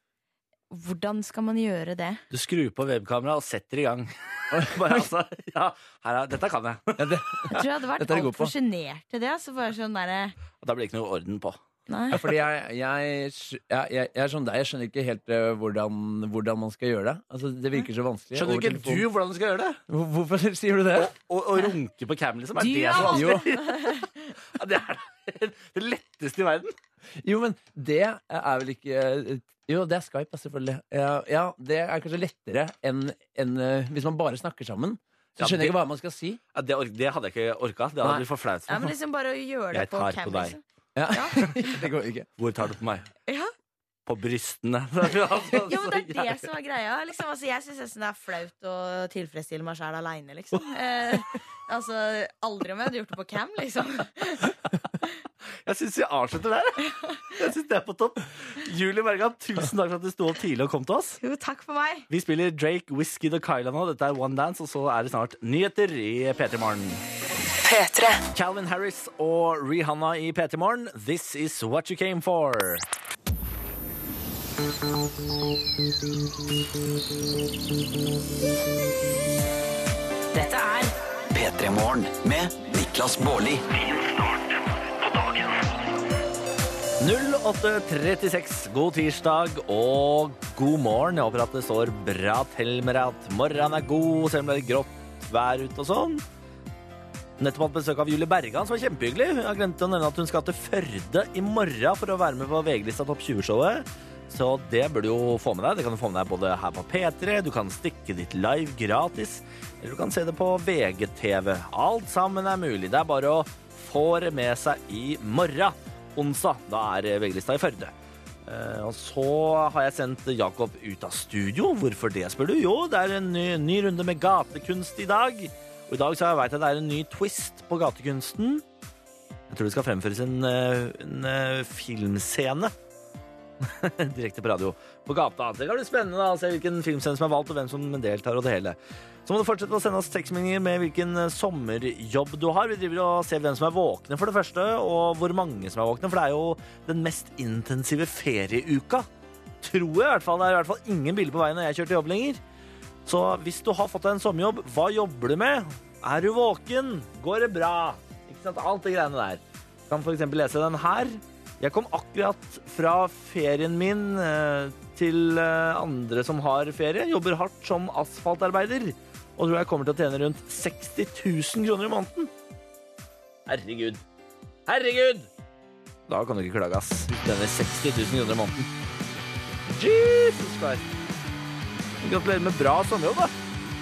Speaker 5: Hvordan skal man gjøre det?
Speaker 2: Du skrur på webkameraet og setter i gang. Bare, altså, ja, her er, dette kan jeg.
Speaker 4: Ja, det,
Speaker 5: Jeg tror jeg hadde vært
Speaker 4: Dette er jeg god på.
Speaker 5: altfor sjenert til det. Så bare sånn derre
Speaker 2: Da blir det ikke noe orden på.
Speaker 5: Nei.
Speaker 4: ja, fordi jeg, jeg, skj- ja, jeg, jeg er sånn deg, jeg skjønner ikke helt eh, hvordan, hvordan man skal gjøre det. Altså, det virker så vanskelig.
Speaker 2: Skjønner
Speaker 4: over
Speaker 2: ikke
Speaker 4: telefon.
Speaker 2: du hvordan du skal gjøre det?
Speaker 4: Hvor- Hvorfor sier du det?
Speaker 2: Å å runke på cam, liksom? Er
Speaker 5: Du
Speaker 2: det
Speaker 5: er
Speaker 2: så
Speaker 4: Jo.
Speaker 2: vanskelig? Ja, det er det letteste i verden.
Speaker 4: Jo, men det er vel ikke eh, Jo, det er Skype, ja, selvfølgelig. Ja, ja, det er kanskje lettere enn enn, eh, hvis man bare snakker sammen.
Speaker 2: Ja,
Speaker 4: Så skjønner jeg
Speaker 2: det-
Speaker 4: ikke hva man skal si.
Speaker 2: Ja, det, ork- det hadde jeg ikke orka. Det hadde
Speaker 4: Nei.
Speaker 2: blitt for flaut.
Speaker 5: Ja, men liksom bare å gjøre det
Speaker 2: Jeg
Speaker 5: på
Speaker 2: tar på
Speaker 5: cam.
Speaker 2: deg.
Speaker 5: liksom.
Speaker 4: Ja.
Speaker 5: Ja.
Speaker 4: det går ikke.
Speaker 2: Hvor tar du på meg?
Speaker 5: Ja.
Speaker 2: På brystene.
Speaker 5: Jo, men det er det som er greia. Liksom. Altså, jeg syns nesten det er flaut å tilfredsstille meg sjæl aleine, liksom. Eh, altså, aldri om jeg hadde gjort det på cam, liksom.
Speaker 2: Jeg syns vi avslutter der. Jeg synes det er på topp. Julie Bergan, tusen takk for at du sto opp tidlig og kom til oss.
Speaker 5: Jo, takk for meg.
Speaker 2: Vi spiller Drake, Whisky og Kyla nå. Dette er One Dance, og så er det snart nyheter i P3 Morgen.
Speaker 3: P3.
Speaker 2: Calvin Harris og Rihanna i P3 Morgen. This is what you came for.
Speaker 3: Dette er
Speaker 1: P3 Morgen med Niklas Baarli.
Speaker 2: 08.36, god tirsdag og god morgen. Jeg håper at det står bra til med deg, at morgenen er god, selv om det er grått vær ute og sånn. Nettopp hatt besøk av Julie Bergan, som var kjempehyggelig. Hun har glemt å nevne at hun skal til Førde i morgen for å være med på VG-lista Topp 20-showet. Så det bør du jo få med deg. Det kan du få med deg både her på P3, du kan stikke dit live gratis, eller du kan se det på VGTV. Alt sammen er mulig. Det er bare å få det med seg i morgen. Onsdag. Da er VG-lista i Førde. Eh, Og så har jeg sendt Jakob ut av studio. Hvorfor det, spør du? Jo, det er en ny, ny runde med gatekunst i dag. Og i dag så har jeg vet jeg det er en ny twist på gatekunsten. Jeg Jeg tror det skal fremføres en, eh, en eh, filmscene. Direkte på radio. På gata. Det kan bli spennende da, å se hvilken filmscene som er valgt, og hvem som deltar. og det hele. Så må du fortsette å sende oss tekstmeldinger med hvilken eh, sommerjobb du har. Vi driver og ser hvem som er våkne, for det første, og hvor mange som er våkne. For det er jo den mest intensive ferieuka. Tror jeg i hvert fall. Det er i hvert fall ingen biler på veien når jeg kjører til jobb lenger. Så hvis du har fått deg en sommerjobb, hva jobber du med? Er du våken? Går det bra? Ikke sant? Alt det greiene der. Du kan f.eks. lese den her. Jeg kom akkurat fra ferien min eh, til eh, andre som har ferie. Jobber hardt som asfaltarbeider. Og tror jeg kommer til å tjene rundt 60 000 kroner i måneden. Herregud. Herregud! Da kan du ikke klage, ass. Denne 60 000 kroner i måneden. Jesus Christ. Gratulerer med bra sommerjobb, da.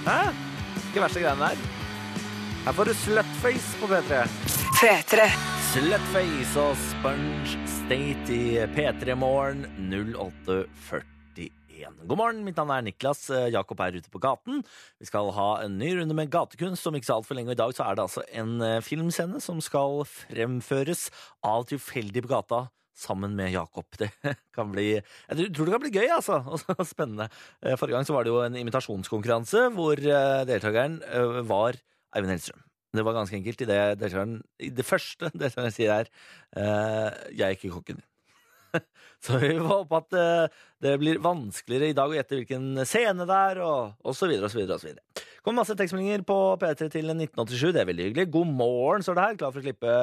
Speaker 2: Hæ? Ikke verste greiene der. Her får du slutface på P3.
Speaker 3: P3.
Speaker 2: Slutface og Sponge State i P3 Morgen 0841. God morgen, mitt navn er Niklas. Eh, Jakob er ute på gaten. Vi skal ha en ny runde med gatekunst om ikke så altfor lenge. Og i dag så er det altså en eh, filmscene som skal fremføres av tilfeldig på gata. Sammen med Jakob. Det kan bli Jeg tror- tror det kan bli gøy, altså. Og så spennende. Eh, Forrige gang så var det jo en imitasjonskonkurranse hvor eh, deltakeren eh, var Eivind Hellstrøm. Det var ganske enkelt i det deltakeren I det første deltakeren sier her eh, Jeg er ikke kokken din. så vi får håpe at eh, det blir vanskeligere i dag å gjette hvilken scene det er, og, og så videre og så videre. og så videre. Kom masse tekstmeldinger på P3 til 1987. Det er veldig hyggelig. God morgen, står det her. Klar for å slippe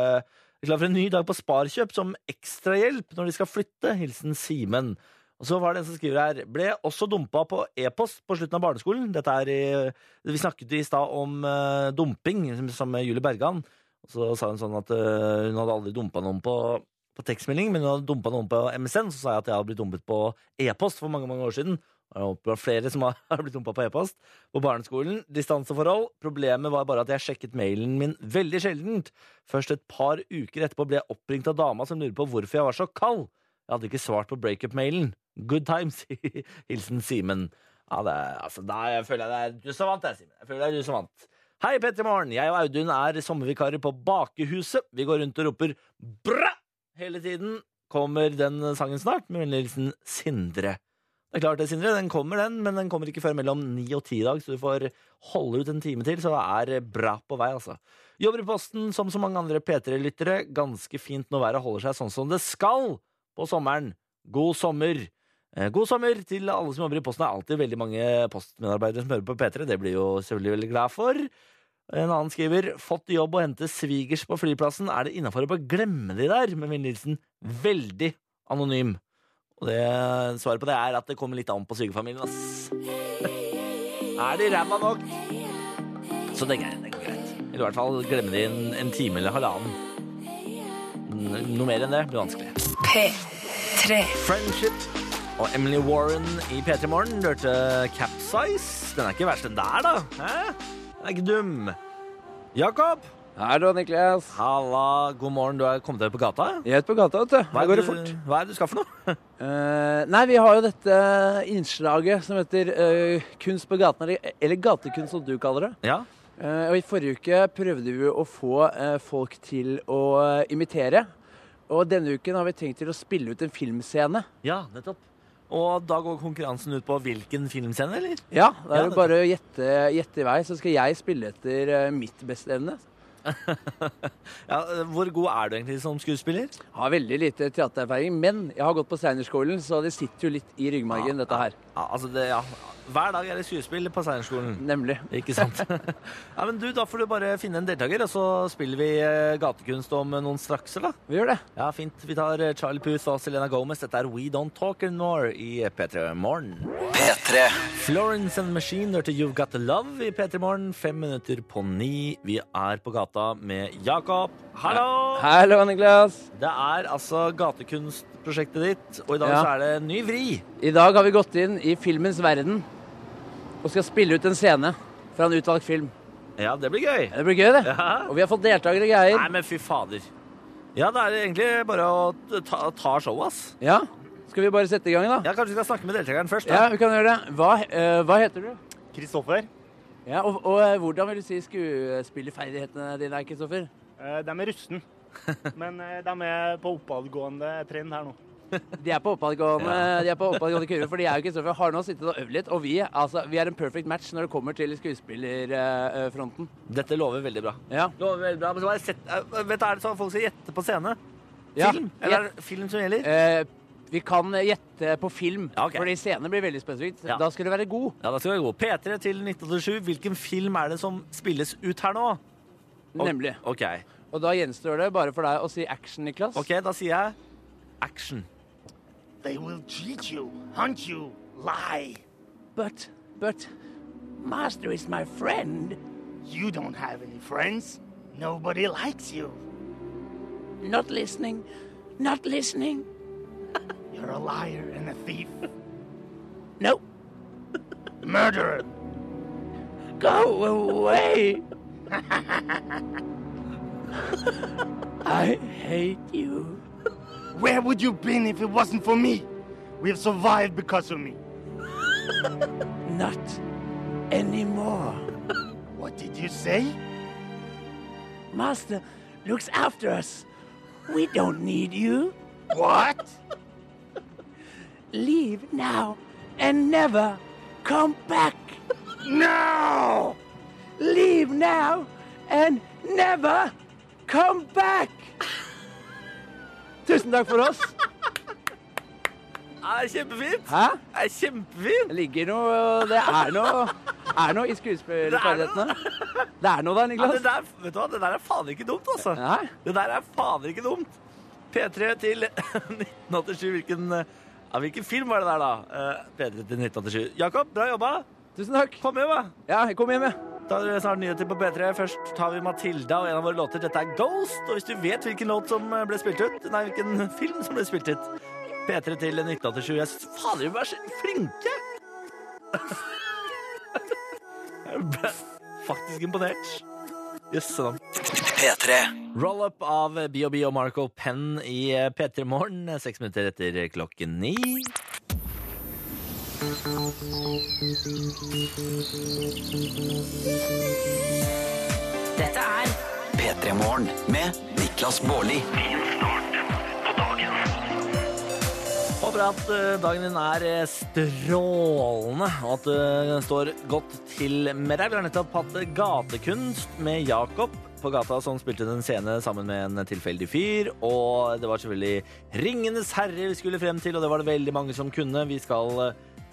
Speaker 2: Klar for en ny dag på Sparkjøp som ekstrahjelp når de skal flytte. Hilsen Simen. Og så var det en som skriver her Ble også dumpa på e-post på slutten av barneskolen. Dette er i vi snakket i stad om eh, dumping som- sammen med Julie Bergan. Og så sa hun sånn at eh, hun hadde aldri dumpa noen på, på tekstmelding, men hun hadde dumpa noen på MSN. Så sa jeg at jeg hadde blitt dumpet på e-post for mange mange år siden. Og jeg håper det var flere som har blitt dumpa på e-post. På barneskolen, distanseforhold. Problemet var bare at jeg sjekket mailen min veldig sjeldent. Først et par uker etterpå ble jeg oppringt av dama som lurer på hvorfor jeg var så kald. Jeg hadde ikke svart på breakup-mailen. Good times. Hilsen Simen. Ja, det er, altså, da jeg føler jeg det er du som vant, jeg, Simen. Jeg føler det er du som vant. Hei, Petter Morgen. Jeg og Audun er sommervikarer på Bakehuset. Vi går rundt og roper 'bra' hele tiden. Kommer den sangen snart? Med vennlig hilsen Sindre. Det er klart det, Sindre. Den kommer, den, men den kommer ikke før mellom ni og ti i dag, så du får holde ut en time til, så det er bra på vei, altså. Jobber i Posten som så mange andre P3-lyttere. Ganske fint når været holder seg sånn som det skal på sommeren. God sommer! Eh, God sommer til alle som jobber i Posten. Det er alltid veldig mange postmedarbeidere som hører på P3. Det blir jo selvfølgelig veldig glad for. En annen skriver fått jobb og hente svigers på flyplassen. Er det innafor å bare glemme de der? Med Vinn Nilsen veldig anonym. Og det, svaret på det er at det kommer litt an på svigerfamilien, ass. er de ræva nok? Så det er det går greit. Eller i hvert fall glemme de en, en time eller halvannen. N- Noe mer enn det blir vanskelig.
Speaker 3: P3.
Speaker 2: Friendship og Emily Warren i P3 Morgen lurte Capsize. Den er ikke verst, den der, da. Hæ? Den er ikke dum. Jakob,
Speaker 4: Hallo, Niklas.
Speaker 2: halla, god morgen. Du er kommet deg på gata?
Speaker 4: Jeg er ute på gata, vet du.
Speaker 2: Hva
Speaker 4: Her
Speaker 2: er
Speaker 4: går det
Speaker 2: du-
Speaker 4: fort.
Speaker 2: Hva er det du skal for noe?
Speaker 4: Eh, nei, vi har jo dette eh, innslaget som heter eh, Kunst på gaten, eller, eller gatekunst, som du kaller det.
Speaker 2: Ja,
Speaker 4: Eh, og I forrige uke prøvde vi å få eh, folk til å eh, imitere. Og denne uken har vi tenkt til å spille ut en filmscene.
Speaker 2: ja nettopp. Og da går konkurransen ut på hvilken filmscene, eller?
Speaker 4: Ja, Da
Speaker 2: Ja,
Speaker 4: er det
Speaker 2: det-
Speaker 4: bare å gjette, gjette i vei, så skal jeg spille etter eh, mitt beste evne.
Speaker 2: Ja, hvor god er du egentlig som skuespiller?
Speaker 4: Har veldig lite teatererfaring, men jeg har gått på Steinerskolen, så det sitter jo litt i ryggmargen, dette her.
Speaker 2: Ja, altså det, ja. Hver dag er det skuespill på Steinerskolen.
Speaker 4: Nemlig.
Speaker 2: Ikke sant? ja, men du, Da får du bare finne en deltaker, og så spiller vi eh, gatekunst om noen strakser, da.
Speaker 4: Vi gjør det.
Speaker 2: Ja, fint. Vi tar eh, Charlie Puth og Selena Gomez. Dette er We Don't Talk Anymore i P3 Morgen.
Speaker 1: P3.
Speaker 2: Florence and the Machine hørte You've Got The Love i P3 Morgen. Fem minutter på ni. Vi er på gata med Jakob. Hallo!
Speaker 4: Hallo, Niklas.
Speaker 2: Det er altså gatekunstprosjektet ditt, og i dag
Speaker 4: Ja.
Speaker 2: så er det en ny vri.
Speaker 4: I dag har vi gått inn i filmens verden og skal spille ut en scene fra en utvalgt film.
Speaker 2: Ja, det blir gøy.
Speaker 4: Det blir gøy, det.
Speaker 2: Ja.
Speaker 4: Og vi har fått deltakere og greier.
Speaker 2: Nei, men fy fader. Ja, det er egentlig bare å ta, ta showet, ass.
Speaker 4: Ja, skal vi bare sette i gang, da?
Speaker 2: Ja, Kanskje vi skal snakke med deltakeren først?
Speaker 4: Ja,
Speaker 2: da?
Speaker 4: vi kan gjøre det. Hva, eh, hva heter du?
Speaker 6: Kristoffer.
Speaker 4: Ja, og, og eh, hvordan vil du si skuespillerferdighetene dine er, Kristoffer?
Speaker 6: Eh, De er rusten. Men eh, de er på oppadgående trend her nå.
Speaker 7: De er på oppadgående, de er på oppadgående kurve, for de er jo Kristoffer har nå sittet og øvd litt. Og vi, altså, vi er en perfect match når det kommer til skuespillerfronten.
Speaker 2: Dette lover veldig bra.
Speaker 7: Ja.
Speaker 2: Lover veldig bra, men så bare sett, eh, vet du, Er det sånn at folk skal gjette på scene?
Speaker 7: Ja.
Speaker 2: Film? Eller er det film som gjelder?
Speaker 7: Eh, vi kan gjette på film,
Speaker 2: Ja, ok.
Speaker 7: fordi scenen blir veldig spesifikt.
Speaker 2: Ja.
Speaker 7: Da skal du være god.
Speaker 2: Ja, da skal vi gå. P3 til 1987. Hvilken film er det som spilles ut her nå? Og-
Speaker 7: Nemlig.
Speaker 2: Ok,
Speaker 7: Og da gjenstår det bare for deg å si action, Niklas.
Speaker 2: ok, da sier jeg action.
Speaker 6: They will cheat you, hunt you, lie.
Speaker 7: But, but, master is my friend.
Speaker 6: You don't have any friends. Nobody likes you.
Speaker 7: Not listening. Not listening.
Speaker 6: You're a liar and a thief.
Speaker 7: No.
Speaker 6: Murderer.
Speaker 7: Go away. I hate you.
Speaker 6: Where would you been if it wasn't for me? We have survived because of me.
Speaker 7: Not anymore.
Speaker 6: What did you say?
Speaker 7: Master looks after us. We don't need you.
Speaker 6: What?
Speaker 7: Leave now and never come back. No! Leave now and never come back! Tusen takk for oss.
Speaker 2: Er kjempefint!
Speaker 7: Hæ?
Speaker 2: Er kjempefint!
Speaker 7: Det ligger noe Det er noe, er noe i skuespillerferdighetene. Det er noe der,
Speaker 2: Ja, det,
Speaker 7: Niklas.
Speaker 2: der, vet du hva? det der er faen ikke dumt, altså.
Speaker 7: Nei.
Speaker 2: Det der er faen ikke dumt. P3 til 1987. Hvilken, eh, ja, hvilken film var det der, da? Eh, P3 til 1987. Jakob, bra jobba!
Speaker 7: Tusen takk.
Speaker 2: Kom hjem, da!
Speaker 7: Ja, kom hjem, jeg.
Speaker 2: Da er det snart nyheter på P3. Først tar vi Matilda og en av våre låter. Dette er Ghost. Og hvis du vet hvilken låt som eh, ble spilt ut Nei, hvilken film som ble spilt ut P3 til 1987. Jeg synes fader, vi er så flinke! Jeg ble faktisk imponert. Jøsse navn.
Speaker 1: P3.
Speaker 2: Roll-up av BOB og Marco Penn i P3 Morgen, seks minutter etter klokken ni.
Speaker 3: Dette er
Speaker 1: P3 Morgen med Niklas Baarli.
Speaker 2: Håper at eh, dagen din er eh, strålende, og at det står godt til med deg. Vi har nettopp hatt eh, gatekunst med Jakob på gata, som spilte den scene sammen med en tilfeldig fyr. Og det var selvfølgelig Ringenes herre vi skulle frem til, og det var det veldig mange som kunne. Vi skal eh,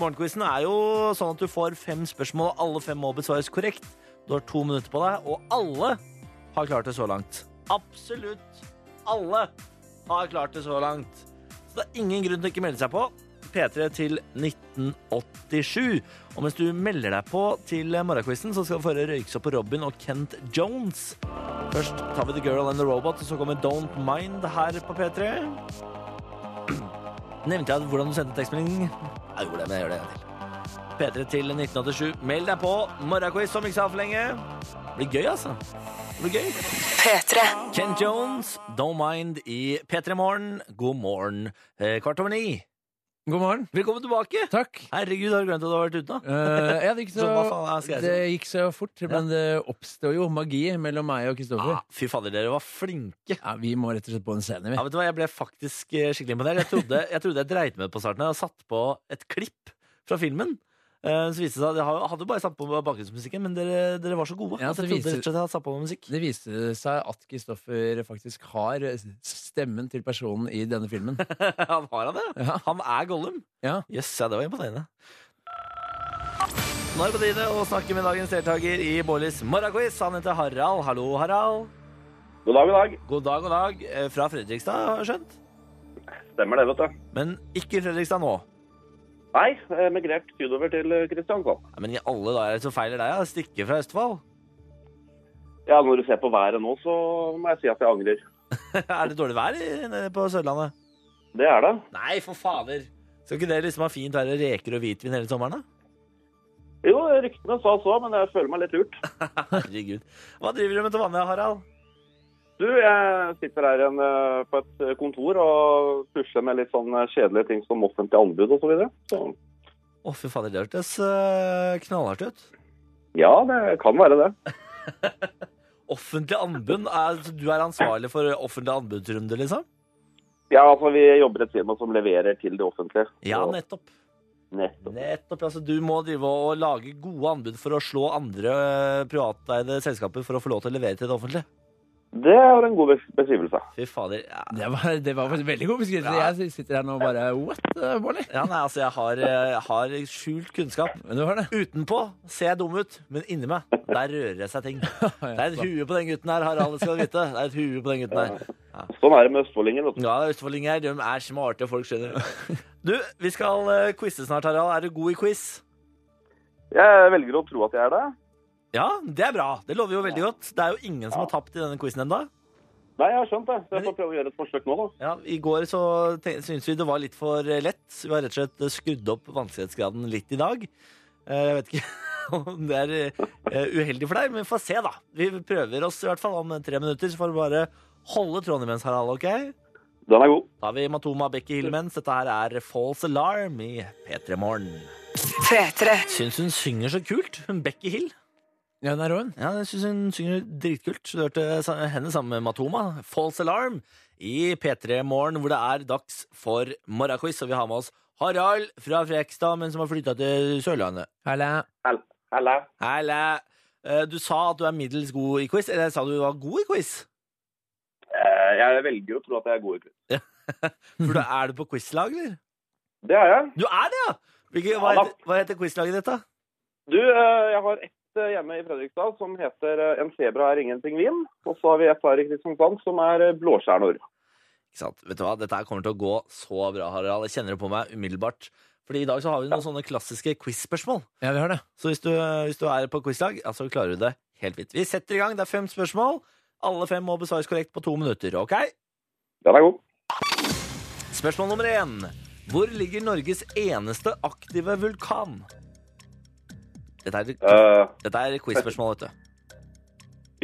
Speaker 2: Morgenquizen er jo sånn at du får fem spørsmål, og alle fem må besvares korrekt. Du har to minutter på deg, og alle har klart det så langt. Absolutt alle har klart det så langt. Så det er ingen grunn til å ikke melde seg på. P3 til 1987. Og mens du melder deg på til morgenquizen, så skal du få høre Røyksopp og Robin og Kent Jones. Først tar vi The Girl and the Robot, og så kommer Don't Mind her på P3. Nevnte jeg hvordan du sendte tekstmelding? Jeg gjorde det, men jeg gjør det en gang til. P3 til 1987. Meld deg på. Morgenquiz som ikke sa for lenge. Det blir gøy, altså. Det blir gøy.
Speaker 3: P3.
Speaker 2: Ken Jones, Don't Mind i P3 Morgen. God morgen, eh, kvart over ni.
Speaker 4: God morgen.
Speaker 2: Velkommen tilbake!
Speaker 4: Takk.
Speaker 2: Herregud, har du glemt at du har vært ute nå?
Speaker 4: Eh, ja, det, gikk så,
Speaker 2: Så hva faen er- skal jeg si?
Speaker 4: det gikk så fort, men det oppstår jo magi mellom meg og Kristoffer.
Speaker 2: Ah, fy fader, dere var flinke.
Speaker 4: Ja, vi må rett og slett på en scene,
Speaker 2: Ja,
Speaker 4: vi.
Speaker 2: vet du hva, Jeg ble faktisk eh, skikkelig imponert. Jeg trodde jeg, trodde jeg dreit meg ut på starten. Jeg hadde satt på et klipp fra filmen. Eh, Så viste det seg at Jeg har- hadde jo bare satt på bakgrunnsmusikken, men dere, dere var så gode.
Speaker 4: Ja,
Speaker 2: at jeg trodde
Speaker 4: det viser-
Speaker 2: rett og slett jeg hadde satt på med musikk.
Speaker 4: Det viste seg at Kristoffer faktisk har stemmen til personen i denne filmen.
Speaker 2: Han har han det?
Speaker 4: Ja.
Speaker 2: Han er Gollum?
Speaker 4: Ja.
Speaker 2: Jøss, ja, det var imponerende. Nå er det på tide å snakke med dagens deltaker i Bårlis morgenquiz. Han heter Harald. Hallo, Harald.
Speaker 8: God dag, god dag.
Speaker 2: God dag, god dag. Eh, Fra Fredrikstad, har jeg skjønt.
Speaker 8: Stemmer det, vet du.
Speaker 2: Men ikke i Fredrikstad nå.
Speaker 8: Nei, eh, jeg migrerte sydover til eh, Kristiansand.
Speaker 2: Nei, men i alle dager så feiler deg. Jeg stikker fra Østfold.
Speaker 8: Ja, når du ser på været nå, så må jeg si at jeg angrer.
Speaker 2: er det dårlig vær i- nede på Sørlandet?
Speaker 8: Det er det.
Speaker 2: Nei, for fader! Skal ikke det liksom ha fint være reker og hvitvin hele sommeren, da?
Speaker 8: Jo, ryktene sa så, men jeg føler meg litt lurt.
Speaker 2: Herregud. Hva driver du med til vanlig, Harald?
Speaker 8: Du, jeg sitter her igjen eh, på et kontor og pusler med litt sånn kjedelige ting som offentlig anbud og så videre. Så
Speaker 2: Å, fy fader, det hørtes eh, knallhardt ut.
Speaker 8: ja, det kan være det.
Speaker 2: Offentlig anbud? Er, så du er ansvarlig for offentlig anbudsrunde, liksom?
Speaker 8: Ja, altså vi jobber i et firma som leverer til det offentlige.
Speaker 2: Ja,
Speaker 8: Så-
Speaker 2: nettopp.
Speaker 8: nettopp.
Speaker 2: Nettopp, altså Du må drive og lage gode anbud for å slå andre eh, privateide selskaper for å få lov til å levere til det offentlige.
Speaker 8: Det er en god bes- beskrivelse.
Speaker 2: Fy fader. Ja,
Speaker 4: Det var, det var faktisk en veldig god beskrivelse.
Speaker 2: Ja.
Speaker 4: Jeg sitter her nå og bare What, eh, Bårdli?
Speaker 2: ja nei, altså Jeg har, eh, jeg har skjult kunnskap.
Speaker 4: Men du har det.
Speaker 2: Utenpå ser jeg dum ut, men inni meg der rører det seg ting. Det er et
Speaker 4: Ja,
Speaker 2: hue på den gutten her, Harald det skal du vite. Det er et hue på den gutten her.
Speaker 8: Sånn er det med østfoldinger. vet du.
Speaker 2: Ja, østfoldinger de er smarte folk, skjønner du. Du, vi skal eh, quize snart, Harald. Er du god i quiz?
Speaker 8: Jeg velger å tro at jeg er det.
Speaker 2: Ja, det er bra. Det lover jo veldig godt. Det er jo ingen som har tapt i denne quizen ennå.
Speaker 8: Nei, jeg har skjønt det. Så jeg
Speaker 2: Men-
Speaker 8: får prøve å gjøre et forsøk nå, da.
Speaker 2: Ja, I går så te- syntes vi det var litt for eh, lett. Vi har rett og slett eh, skrudd opp vanskelighetsgraden litt i dag. Eh, Jeg vet ikke om det er eh, uheldig for deg, men vi får se, da. Vi prøver oss i hvert fall om tre minutter, så får du bare holde tråden imens, Harald. ok? Da
Speaker 8: Den er god.
Speaker 2: har vi Matoma Becky Hillmens. Dette her er False Alarm i P3 Morgen.
Speaker 3: P3.
Speaker 2: Syns hun synger så kult, hun Becky Hill.
Speaker 4: Ja, den er rå, den.
Speaker 2: Ja, jeg syns hun synger dritkult. Du hørte sa- henne sammen med Matoma, False Alarm, i P3 Morgen, hvor det er dags for morgenquiz. Og vi har med oss Harald fra Frekstad, men som har flytta til Sørlandet.
Speaker 4: Halla.
Speaker 8: Halla.
Speaker 2: Hele. Du sa at du er middels god i quiz. Eller sa du var god i quiz?
Speaker 8: Eh, Jeg velger å tro at jeg er god i quiz.
Speaker 2: For da er du på quizlag, eller?
Speaker 8: Det er jeg.
Speaker 2: Du er det, ja! Hvilke, hva,
Speaker 8: Ja da.
Speaker 2: heter, hva heter quizlaget ditt, da?
Speaker 8: Du, eh, jeg har ett eh, hjemme i Fredrikstad som heter eh, En sebra er ingen pingvin. Og så har vi ett her i Kristiansand som er eh, Blåstjerner.
Speaker 2: Ikke sant? Vet du hva? Dette her kommer til å gå så bra, Harald. Jeg kjenner det på meg umiddelbart. Fordi i dag så har vi noen sånne klassiske quiz-spørsmål.
Speaker 4: Ja, vi har det.
Speaker 2: Så hvis du, hvis du er på quizlag, ja, så klarer du det helt fint. Vi setter i gang. Det er fem spørsmål. Alle fem må besvares korrekt på to minutter. ok?
Speaker 8: Den er god.
Speaker 2: Spørsmål nummer én. Hvor ligger Norges eneste aktive vulkan? Dette er,
Speaker 8: Eh,
Speaker 2: dette er quiz-spørsmål, vet du.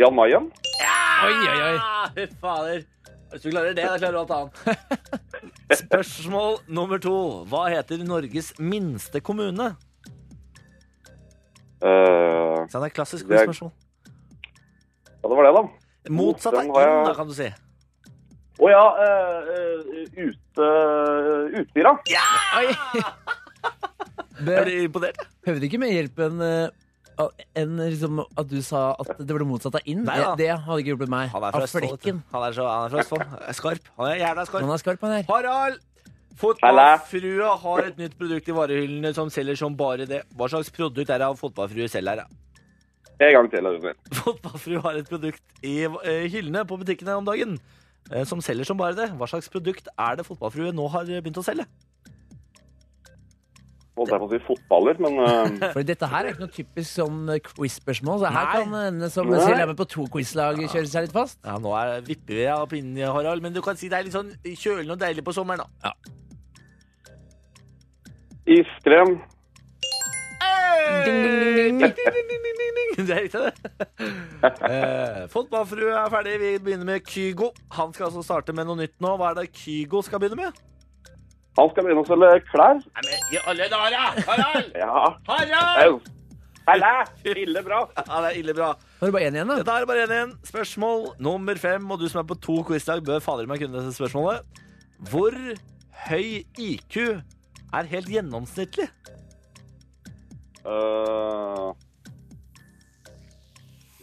Speaker 8: Jan Mayen.
Speaker 4: Oi, oi, oi.
Speaker 2: Ah, fy fader. Hvis du klarer det, da klarer du alt annet. Spørsmål nummer to. Hva heter Norges minste kommune?
Speaker 8: Eh,
Speaker 2: Så det er klassisk
Speaker 8: Det er-
Speaker 2: quiz-spørsmål.
Speaker 8: ja, det var det, da.
Speaker 2: Motsatt av
Speaker 8: Den har jeg-
Speaker 2: inn, da, kan du si.
Speaker 8: Å ja, eh, eh, ute, eh, Utstyra.
Speaker 2: Er
Speaker 4: Ble,
Speaker 2: du imponert?
Speaker 4: Høvde ikke med hjelpen enn liksom at du sa at det var det motsatte av inn.
Speaker 2: Nei, ja.
Speaker 4: det, det hadde ikke hjulpet meg.
Speaker 2: Han er
Speaker 4: Av
Speaker 2: fra Østfold. vet du.
Speaker 4: flekken.
Speaker 2: Han er, så, han er fra Østfold. Skarp. Han er jævla skarp.
Speaker 4: Han er skarp, han her.
Speaker 2: Harald!
Speaker 8: Halla.
Speaker 2: Fotballfrua har et nytt produkt i varehyllene som selger som bare det. Hva slags produkt er det av fotballfrue selv her? da?
Speaker 8: En gang til. Øyvind.
Speaker 2: Fotballfrue har et produkt i eh, hyllene på butikkene om dagen eh, som selger som bare det. Hva slags produkt er det fotballfrue nå har eh, begynt å selge?
Speaker 8: Holdt jeg på å si fotballer, men eh,
Speaker 4: For dette her er ikke noe typisk sånn eh, quiz-spørsmål. Så her
Speaker 2: Nei.
Speaker 4: kan det ende som
Speaker 8: Nei.
Speaker 4: selv er med på to quiz-lag kjøre seg litt fast.
Speaker 2: Ja, Nå er, vipper vi av pinnen, Harald, men du kan si det er litt sånn kjølende og deilig på sommeren. da.
Speaker 8: iskrem.
Speaker 2: Det er riktig, det. Eh, Fotballfrue er ferdig. Vi begynner med Kygo. Han skal altså starte med noe nytt nå. Hva er det Kygo skal begynne med?
Speaker 8: Han skal begynne å selge klær.
Speaker 2: Nei, men i alle dager! Harald!
Speaker 8: Ja.
Speaker 2: Harald!
Speaker 8: Au. Halla! Ille bra.
Speaker 2: Ja, det er ille bra.
Speaker 4: Nå er det bare én igjen, da.
Speaker 2: Dette er bare én igjen. Spørsmål nummer fem. Og du som er på to quizlag, bør fader meg kunne dette spørsmålet. Hvor høy IQ er helt gjennomsnittlig?
Speaker 8: Eh,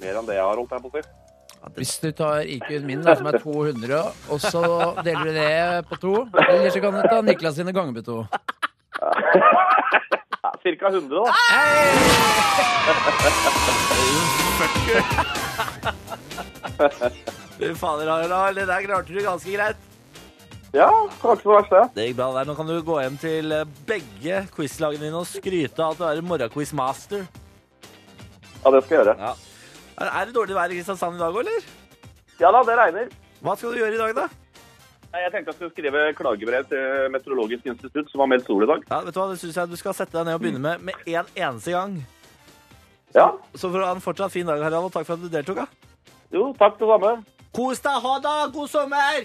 Speaker 8: mer enn det jeg har, holdt jeg på å si.
Speaker 4: Hvis du tar IQ-en min, da, som er 200, og så deler du det på to Eller så kan du ta Niklas sine ganger med to.
Speaker 8: Ja, Cirka 100, da.
Speaker 2: Fy Fader, Harald, det der klarte du ganske greit.
Speaker 8: Ja, det var ikke så verst, det.
Speaker 2: Det gikk bra der. Nå kan du gå hjem til eh, begge quizlagene dine og skryte av at du er en morgenquiz-master.
Speaker 8: Ja, det skal jeg gjøre.
Speaker 2: Er er det dårlig vær i Kristiansand i dag, eller?
Speaker 8: Ja da, det regner.
Speaker 2: Hva skal du gjøre i dag, da?
Speaker 8: Nei, Jeg tenkte jeg skulle skrive klagebrev til Meteorologisk institutt, som har meldt sol i dag.
Speaker 2: Ja, vet du hva, Det syns jeg du skal sette deg ned og begynne med med en eneste gang.
Speaker 8: Ja,
Speaker 2: Så for å ha en fortsatt fin dag, Harald, og takk for at du deltok. da.
Speaker 8: jo, takk det samme.
Speaker 2: Kos deg, ha det! God sommer!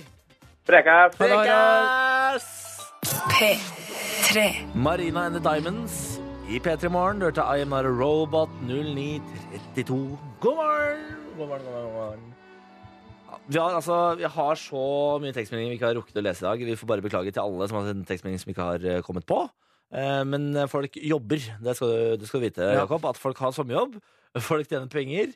Speaker 8: Prekæs!
Speaker 2: Prekes!
Speaker 3: P3.
Speaker 2: Marina and the Diamonds i P3 Morgen hørte I Am Not A Robot 0932. God morgen! God morgen, god morgen, god morgen. Ja, Vi har, altså, vi har så mye tekstmeldinger vi ikke har rukket å lese i dag. Vi får bare beklage til alle som har sendt tekstmeldinger som ikke har eh, kommet på. Eh, Men folk jobber. Det skal du, du skal vite,
Speaker 4: Ja.
Speaker 2: Jakob, at folk har sommerjobb. Folk tjener penger.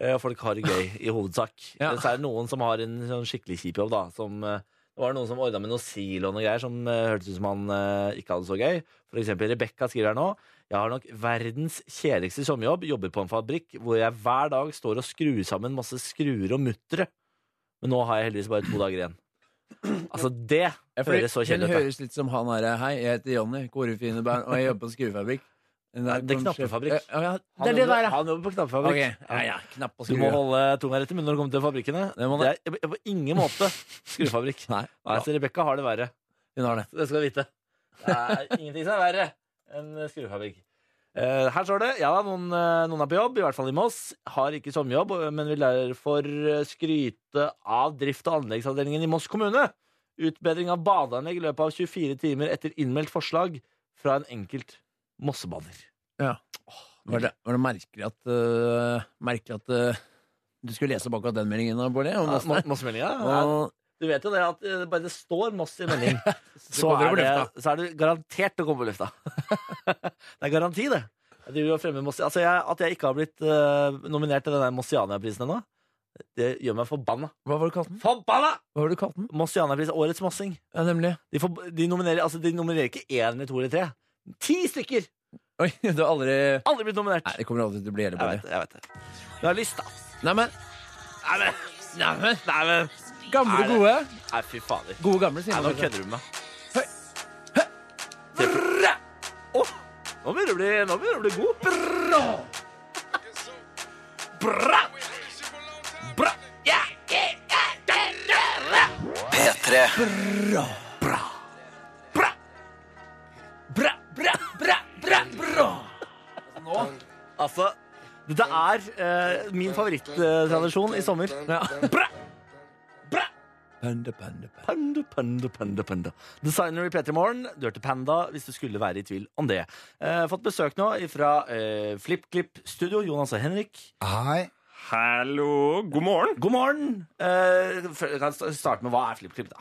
Speaker 2: eh, Og folk har det gøy, i hovedsak.
Speaker 4: Ja.
Speaker 2: Så er det noen som har en sånn skikkelig kjip jobb, da. Som eh, det var noen som ordna med noe silo og noe greier som eh, hørtes ut som han eh, ikke hadde det så gøy. For eksempel Rebekka skriver her nå. Jeg har nok verdens kjedeligste sommerjobb. Jobber på en fabrikk hvor jeg hver dag står og skrur sammen masse skruer og muttere. Men nå har jeg heldigvis bare to dager igjen. Altså, det
Speaker 4: Ja, fordi
Speaker 2: høres så
Speaker 4: den
Speaker 2: kjedelig ut. da.
Speaker 4: høres litt som han her. Hei, jeg heter Jonny, korefinebær, og jeg jobber på en skruefabrikk. Den der
Speaker 2: Nei, det er
Speaker 4: kom sjef-
Speaker 2: knappefabrikk.
Speaker 4: Ja, ja,
Speaker 2: Han
Speaker 4: det er det
Speaker 2: jobber-
Speaker 4: der, ja.
Speaker 2: Han jobber på knappefabrikk.
Speaker 4: Ok, ja, ja, knapp og
Speaker 2: Du må
Speaker 4: skrue.
Speaker 2: holde tunga rett i munnen når du kommer til fabrikkene. Det
Speaker 4: Det må
Speaker 2: er jeg- på ingen måte skruefabrikk.
Speaker 4: Nei,
Speaker 2: Nei, så Rebekka har det verre.
Speaker 4: hun har det.
Speaker 2: Så det skal du vite. Det er ingenting som er verre enn skruefabrikk. Eh, her står det ja da, noen, eh, noen er på jobb, i hvert fall i Moss. Har ikke sommerjobb, eh, men vil derfor eh, skryte av drift- og anleggsavdelingen i Moss kommune. Utbedring av badeanlegg i løpet av 24 timer etter innmeldt forslag fra en enkelt mossebader.
Speaker 4: Var det, var det merkelig at, øh, merkelig at øh, du skulle lese bak av den meldingen, da, Bård?
Speaker 2: Ja,
Speaker 4: om Moss
Speaker 2: Eh,
Speaker 4: der?
Speaker 2: Mo- Mossemeldinga? ja.
Speaker 4: Og-
Speaker 2: Du vet jo det at eh, bare det står Moss i melding, så,
Speaker 4: kommer
Speaker 2: er
Speaker 4: det
Speaker 2: det,
Speaker 4: på
Speaker 2: så er det garantert å komme på lufta. det er garanti, det. Jeg driver og fremmer Moss. Altså, jeg, at jeg ikke har blitt eh, nominert til den der Mossiania-prisen ennå, det gjør meg forbanna.
Speaker 4: Hva var det du kalte den?
Speaker 2: Forbanna!
Speaker 4: Hva var det du kalte den?
Speaker 2: Mossiania-pris, årets mossing.
Speaker 4: Ja, nemlig.
Speaker 2: De, får, de, nominerer, altså, de nominerer ikke én eller to eller tre. Ti stykker!
Speaker 4: Oi, du har aldri
Speaker 2: Aldri blitt nominert.
Speaker 4: Nei, det kommer aldri til å bli
Speaker 2: jeg
Speaker 4: hele Bård.
Speaker 2: vet det. jeg vet det. Men jeg har lyst, da.
Speaker 4: Neimen,
Speaker 2: Nei, men, nei, men, nei, men.
Speaker 4: gamle
Speaker 2: Er det-
Speaker 4: gode.
Speaker 2: Nei, fy fader.
Speaker 4: Gode gamle,
Speaker 2: Nei,
Speaker 4: sier
Speaker 2: nå
Speaker 4: man. kanskje.
Speaker 2: kødder du med meg. Se for- Åh, Nå begynner du å bli, nå begynner du å bli god. Brrra. Brrra. Brrra. Ja, ja, ja, ja, ja, ja.
Speaker 1: P3.
Speaker 2: Brrra. Brrra, brrra, brrra, brrra, brrra. Altså, dette er eh, min favorittradisjon i sommer. Brrra. Brrra.
Speaker 4: Panda, panda, panda.
Speaker 2: Panda, panda, panda, panda. Designer i P3 Morgen. Du hørte Panda, hvis du skulle være i tvil om det. Eh, fått besøk nå fra eh, FlippKlipp Studio, Jonas og Henrik.
Speaker 9: Hei.
Speaker 10: Hallo, god morgen.
Speaker 2: God morgen! Eh, f- jeg kan sta- starte med hva er FlippKlipp, da?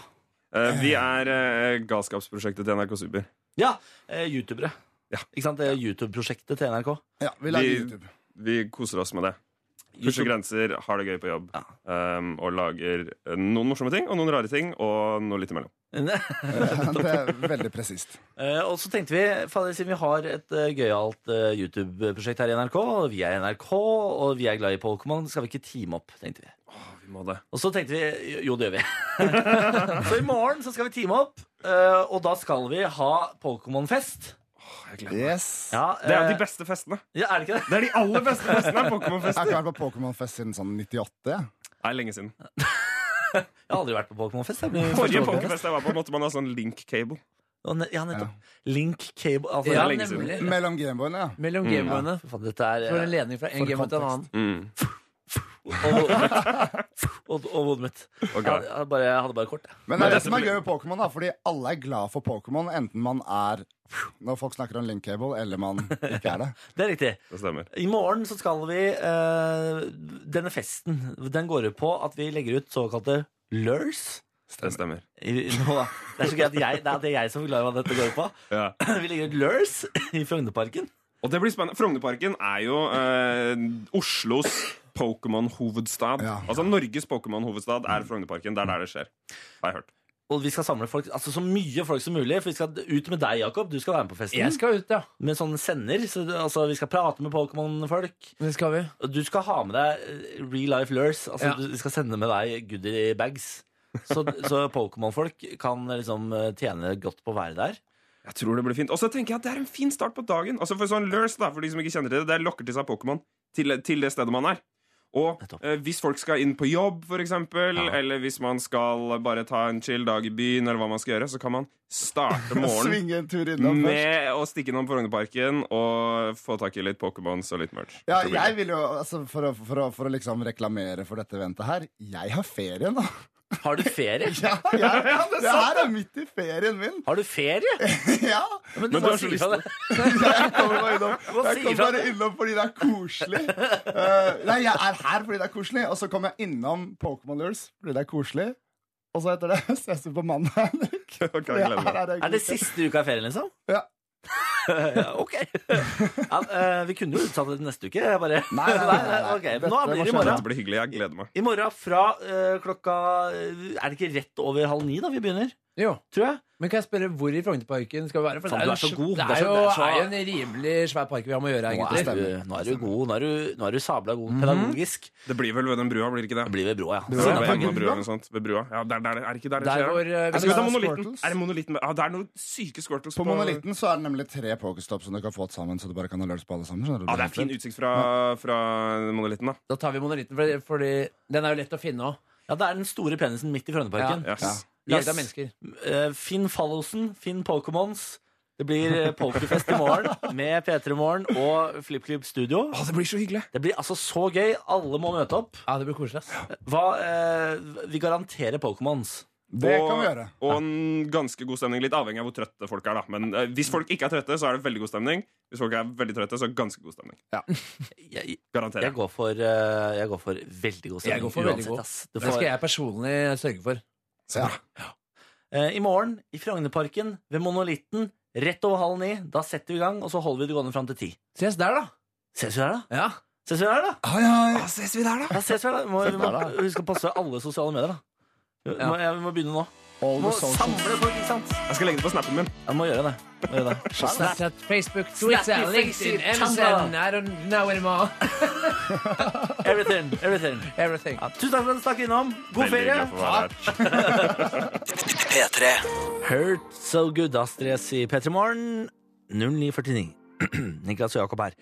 Speaker 10: Eh, vi er eh, galskapsprosjektet til NRK Super.
Speaker 2: Ja, eh, youtubere.
Speaker 10: Ja.
Speaker 2: Ikke sant? Det er YouTube-prosjektet til NRK.
Speaker 9: Ja, vi lager
Speaker 10: Vi-
Speaker 9: YouTube.
Speaker 10: Vi koser oss med det. Pusher grenser, har det gøy på jobb. ehm, og lager eh, noen morsomme ting og noen rare ting og noe litt imellom.
Speaker 9: Det er veldig presist.
Speaker 2: Eh, og så tenkte vi, fader, siden vi har et eh, gøyalt eh, YouTube-prosjekt her i NRK, og vi er NRK, og vi er glad i Pokémon, skal vi ikke teame opp, tenkte vi.
Speaker 10: Å, vi må det.
Speaker 2: Og så tenkte vi jo, det gjør vi. så i morgen så skal vi teame opp, eh, og da skal vi ha Pokémon-fest.
Speaker 10: Å, jeg gleder meg.
Speaker 9: Yes.
Speaker 2: Ja,
Speaker 10: Det er
Speaker 2: eh,
Speaker 10: jo de beste festene.
Speaker 2: ja, er det ikke det?
Speaker 10: Det er de aller beste festene!
Speaker 9: Jeg har
Speaker 10: Pokémon-fester.
Speaker 9: ikke vært på Pokémon-fest siden sånn 98. jeg.
Speaker 10: Det er lenge siden.
Speaker 2: Jeg har aldri vært på Pokémon-fest. jeg blir første
Speaker 10: Forrige
Speaker 2: Pokémon-fest.
Speaker 10: Pokéfest jeg var på, måtte man ha sånn link-cable.
Speaker 2: Og ne- Ja, nettopp. Link cable altså,
Speaker 10: Det er
Speaker 4: Ja,
Speaker 10: lenge siden.
Speaker 4: nemlig.
Speaker 9: Mellom Gameboyene, ja.
Speaker 4: Mellom
Speaker 10: Mm.
Speaker 4: gameboyene.
Speaker 2: Fy faen, Dette er
Speaker 4: Så var det en ledning fra en
Speaker 9: For
Speaker 4: gameboy til en
Speaker 9: kontekst.
Speaker 4: annen.
Speaker 10: Mm.
Speaker 2: Og hodet mitt. Og, og hodet mitt.
Speaker 10: Ok.
Speaker 2: Jeg, hadde- jeg, hadde bare, jeg hadde bare kort. jeg.
Speaker 9: Men det er
Speaker 10: Men
Speaker 9: det som er
Speaker 10: dette-
Speaker 9: gøy med Pokémon, da, fordi alle er glad for Pokémon, enten man er Når folk snakker om link cable, eller man ikke er det.
Speaker 2: Det er riktig.
Speaker 10: Det stemmer.
Speaker 2: I morgen så skal vi eh, Denne festen den går ut på at vi legger ut såkalte lures.
Speaker 10: Det stemmer.
Speaker 2: I- nå, da. Det er så gøy at jeg, det er, det er jeg som forklarer hva dette går ut på.
Speaker 10: Ja.
Speaker 2: Vi legger ut lures i Frognerparken.
Speaker 10: Og det blir spennende. Frognerparken er jo eh, Oslos Pokémon-hovedstad.
Speaker 9: Ja.
Speaker 10: Altså Norges Pokémon-hovedstad er Frognerparken. Det er der det skjer. Har jeg hørt.
Speaker 2: Og vi skal samle folk, altså så mye folk som mulig. For vi skal ut med deg, Jakob. Du skal være med på festen.
Speaker 4: Jeg skal ut, ja.
Speaker 2: Med sånn sender. Så, du- altså, vi skal prate med Pokémon-folk.
Speaker 4: Det skal vi.
Speaker 2: Og Du skal ha med deg eh, real life lures. Altså,
Speaker 4: Ja.
Speaker 2: du- Vi skal sende med deg goodie bags. Så, så Pokémon-folk kan liksom eh, tjene godt på å være der.
Speaker 10: Jeg tror det blir fint. Og så tenker jeg at det er en fin start på dagen. Altså For sånn lures, da, for de som ikke kjenner til det, det lokker til seg Pokémon til, til det stedet man er. Og eh, hvis folk skal inn på jobb, for eksempel, eller hvis man skal bare ta en chill dag i byen, eller hva man skal gjøre, så kan man starte morgenen
Speaker 9: Svinge en tur innom først.
Speaker 10: med å stikke innom Frognerparken og få tak i litt Pokémons og litt merch.
Speaker 9: Ja,
Speaker 10: Så blir
Speaker 9: jeg
Speaker 10: det.
Speaker 9: vil jo, altså, for, å, for, å, for å liksom reklamere for dette eventet her Jeg har ferie nå.
Speaker 2: Har du ferie?
Speaker 9: Ja, jeg, det, her er midt i ferien min.
Speaker 2: Har du ferie?
Speaker 9: Ja,
Speaker 2: Men
Speaker 10: Men du har så lyst til
Speaker 2: det.
Speaker 9: jeg kommer bare innom.
Speaker 2: Hva
Speaker 9: Jeg
Speaker 2: sier han?
Speaker 9: kommer bare innom fordi det er koselig. Eh, nei, jeg er her fordi det er koselig, og så kommer jeg innom Pokémon Lures fordi det er koselig. Og så etter det ses vi på mandag, Henrik.
Speaker 10: Kan
Speaker 9: For jeg
Speaker 10: jeg glemme det.
Speaker 9: her
Speaker 2: Er det siste uka av ferien, liksom?
Speaker 9: Ja.
Speaker 2: ja, ok. Ja, eh, vi kunne jo utsatt det til neste uke. Jeg bare...
Speaker 9: Nei, nei, nei, nei, nei.
Speaker 2: ok.
Speaker 9: Dette
Speaker 2: Nå blir
Speaker 9: må
Speaker 2: det i
Speaker 9: skje.
Speaker 10: Dette
Speaker 2: morgen.
Speaker 10: blir hyggelig. Jeg gleder meg.
Speaker 2: I morgen fra eh, klokka eh, Er det ikke rett over halv ni da vi begynner?
Speaker 4: Jo.
Speaker 2: Tror jeg.
Speaker 4: Men kan jeg spørre hvor i Frognerparken skal vi være? For
Speaker 2: Faen, du
Speaker 4: det er, jo
Speaker 2: er så
Speaker 4: sv-
Speaker 2: god. Det
Speaker 4: Det
Speaker 2: er
Speaker 4: er
Speaker 2: så-
Speaker 4: jo
Speaker 2: det er så-
Speaker 4: er jo en rimelig svær park vi har med å gjøre her,
Speaker 2: Nå
Speaker 4: gutter.
Speaker 2: er, du, nå er du god. Nå er du, nå er du sabla
Speaker 4: Mhm.
Speaker 2: god pedagogisk.
Speaker 10: Det blir vel ved den brua, blir det ikke det?
Speaker 2: Det blir ved broa, ja.
Speaker 10: Ja, ved
Speaker 2: Siden-
Speaker 10: en av brua, eller noe sånt. Ved brua. Ja, der, der, er det ikke der det
Speaker 4: Der
Speaker 10: skjer? da?
Speaker 4: hvor, eh,
Speaker 10: Jeg skal vi ta
Speaker 9: det er
Speaker 10: monolitten?
Speaker 9: Squirtles.
Speaker 10: Er det monolitten? Ja, det er noen syke squirtles
Speaker 9: På Monolitten så er det nemlig tre pokerstopp som du kan få til sammen. Så du bare kan ha lunsj på alle sammen. skjønner du?
Speaker 10: Ja, det er fin utsikt fra, fra monolitten, da.
Speaker 4: Da tar vi monolitten, fordi, fordi den er jo lett å finne òg.
Speaker 2: ja, det er den store penisen midt i Frognerparken.
Speaker 10: Yes.
Speaker 2: Yes.
Speaker 4: Laget av mennesker.
Speaker 2: Eh, Finn Fallosen, Finn Pokémons. Det blir eh, pokerfest i morgen med P3 Morgen og FlippKlipp Studio.
Speaker 10: Å, det blir så hyggelig!
Speaker 2: Det blir altså så gøy. Alle må møte opp.
Speaker 4: Ja, det blir koselig, ass.
Speaker 2: Hva, eh, vi garanterer Pokémons.
Speaker 9: Det kan vi gjøre.
Speaker 10: Og en ganske god stemning. Litt avhengig av hvor trøtte folk er. da Men eh, hvis folk ikke er trøtte, så er det veldig god stemning. Hvis folk er veldig trøtte, så er det ganske god stemning.
Speaker 2: Jeg,
Speaker 10: Garanterer.
Speaker 2: jeg, går, for, eh, jeg går for veldig god stemning.
Speaker 4: Jeg går for veldig god.
Speaker 2: ass. Du
Speaker 4: Det
Speaker 2: får,
Speaker 4: skal jeg personlig sørge for.
Speaker 9: Ja.
Speaker 2: Eh, I morgen i Frognerparken ved Monolitten rett over halv ni. Da setter vi i gang, og så holder vi det gående fram til ti.
Speaker 4: Ses der, da.
Speaker 2: Ses vi der, da?
Speaker 4: Ja.
Speaker 2: Ses vi der, da?
Speaker 9: Hei, hei.
Speaker 10: Ah, ses vi der,
Speaker 2: Ja, ses vi der, da. Må, vi må
Speaker 9: der, da.
Speaker 2: huske å passe alle sosiale medier, da. Vi
Speaker 4: Ja.
Speaker 2: må, ja, vi må begynne nå.
Speaker 9: All
Speaker 2: Må
Speaker 9: the
Speaker 2: samle
Speaker 9: socials.
Speaker 2: folk, ikke sant?
Speaker 10: Jeg skal legge det på snappen min.
Speaker 2: Jeg må gjøre det. Må gjøre det.
Speaker 4: Snapchat, Facebook, Twitter,
Speaker 2: Snappy,
Speaker 4: LinkedIn,
Speaker 2: Facebook,
Speaker 4: MSN, I don't know anymore.
Speaker 2: Everything. everything.
Speaker 4: Everything.
Speaker 2: Ja, tusen takk for at du stakk innom. God
Speaker 10: Veldig
Speaker 2: ferie!
Speaker 10: glad for å være her.
Speaker 1: P3.
Speaker 2: Hurt So Good Astrid S i P3 Morgen 0949. Niklas og Jakob her.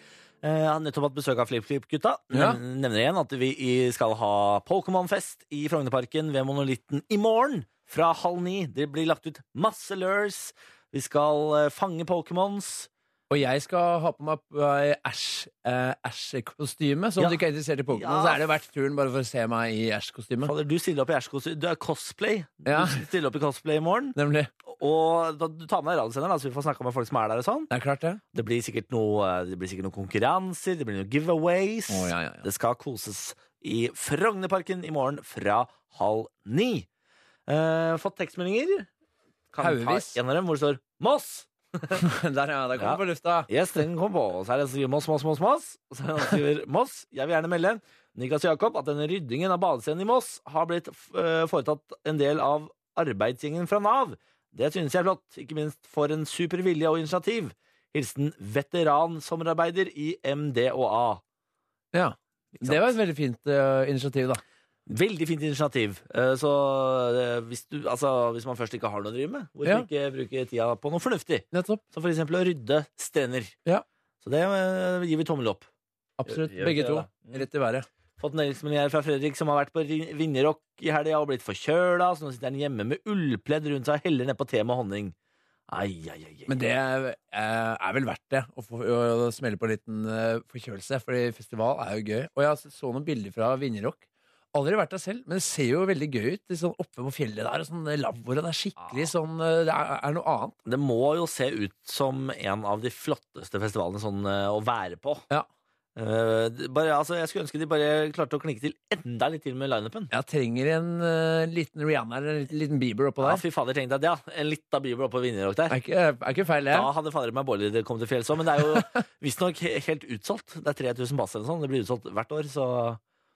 Speaker 2: Eh, Jeg har nettopp hatt besøk av FlippKlipp-gutta.
Speaker 4: Ja.
Speaker 2: Nevner- Nevner igjen at vi i- skal ha Pokémon-fest i Frognerparken ved Monolitten i morgen fra halv ni. Det blir lagt ut masse lures. Vi skal eh, fange Pokémons.
Speaker 4: Og jeg skal ha på meg eh, æsj- eh, æsj-kostyme. så om
Speaker 2: Ja.
Speaker 4: du ikke er interessert i Pokémon,
Speaker 2: Ja.
Speaker 4: så er det verdt turen bare for å se meg i æsj-kostyme.
Speaker 2: Fader, Du stiller opp i Erskos Du er cosplay.
Speaker 4: Ja.
Speaker 2: Du stiller opp i cosplay i morgen.
Speaker 4: Nemlig.
Speaker 2: Og da, du tar med deg radiosenderen, da, så vi får snakka med folk som er der. og sånn
Speaker 4: Det er klart, det.
Speaker 2: Det blir sikkert noe, det blir sikkert noen konkurranser, det blir noen giveaways.
Speaker 4: Å, ja, ja, ja.
Speaker 2: Det skal koses i Frognerparken i morgen fra halv ni. Eh, fått tekstmeldinger. Kan vi ta
Speaker 4: Haugevis.
Speaker 2: en av dem hvor det står Moss.
Speaker 4: Der, ja. Der kom
Speaker 2: Ja.
Speaker 4: det på lufta.
Speaker 2: Yes, den kom på. Og så er det en som skriver Moss, Moss, Moss. Moss. Og så er det en som skriver Moss. Jeg vil gjerne melde Niklas og Jakob at denne ryddingen av badescenen i Moss har blitt eh, foretatt en del av arbeidsgjengen fra Nav. Det synes jeg er flott, ikke minst for en super vilje og initiativ. Hilsen veteran-sommerarbeider i MDOA.
Speaker 4: Ja.
Speaker 2: Ikke sant?
Speaker 4: Det var et veldig fint eh, initiativ, da.
Speaker 2: Veldig fint initiativ. Eh, Så eh, hvis, du, altså, hvis man først ikke har noe å drive med, hvorfor
Speaker 4: Ja.
Speaker 2: ikke bruke tida på noe fornuftig?
Speaker 4: Nettopp.
Speaker 2: Som for eksempel å rydde strender.
Speaker 4: Ja.
Speaker 2: Så det eh, gir vi tommel opp.
Speaker 4: Absolutt.
Speaker 2: Gjør- gjør
Speaker 4: Begge
Speaker 2: ikke
Speaker 4: to.
Speaker 2: det, da.
Speaker 4: Rett i været.
Speaker 2: Fått næringsmelding her fra Fredrik, som har vært på ri- Vinjerock i helga og blitt forkjøla. Så nå sitter han hjemme med ullpledd rundt seg og heller nedpå te med honning. Ai, ai, ai, ai.
Speaker 4: Men det eh, er vel verdt det, å, få, å, å smelle på en liten eh, forkjølelse, fordi festival er jo gøy. Og jeg så noen bilder fra Vinjerock. Aldri vært der selv, men det ser jo veldig gøy ut. Det er sånn oppe på fjellet der, og sånn lavvo, og det er skikkelig sånn eh, Det er, er noe annet.
Speaker 2: Det må jo se ut som en av de flotteste festivalene sånn, eh, å være på.
Speaker 4: Ja.
Speaker 2: Eh, det- bare, altså, jeg skulle ønske de bare klarte å klinke til enda litt til med lineupen.
Speaker 4: Jeg trenger en eh, liten Rihanna eller en liten Bieber oppå
Speaker 2: Ja,
Speaker 4: der.
Speaker 2: fy fader, tenk deg det, ja. En litt av Bieber oppe på Vinjerock der.
Speaker 4: Er ikke, er ikke feil, det.
Speaker 2: Da hadde fader meg Bård kommet til fjells òg, men det er jo visstnok he- helt utsolgt. Det er 3000 pass eller noe sånt. Det blir utsolgt hvert år, så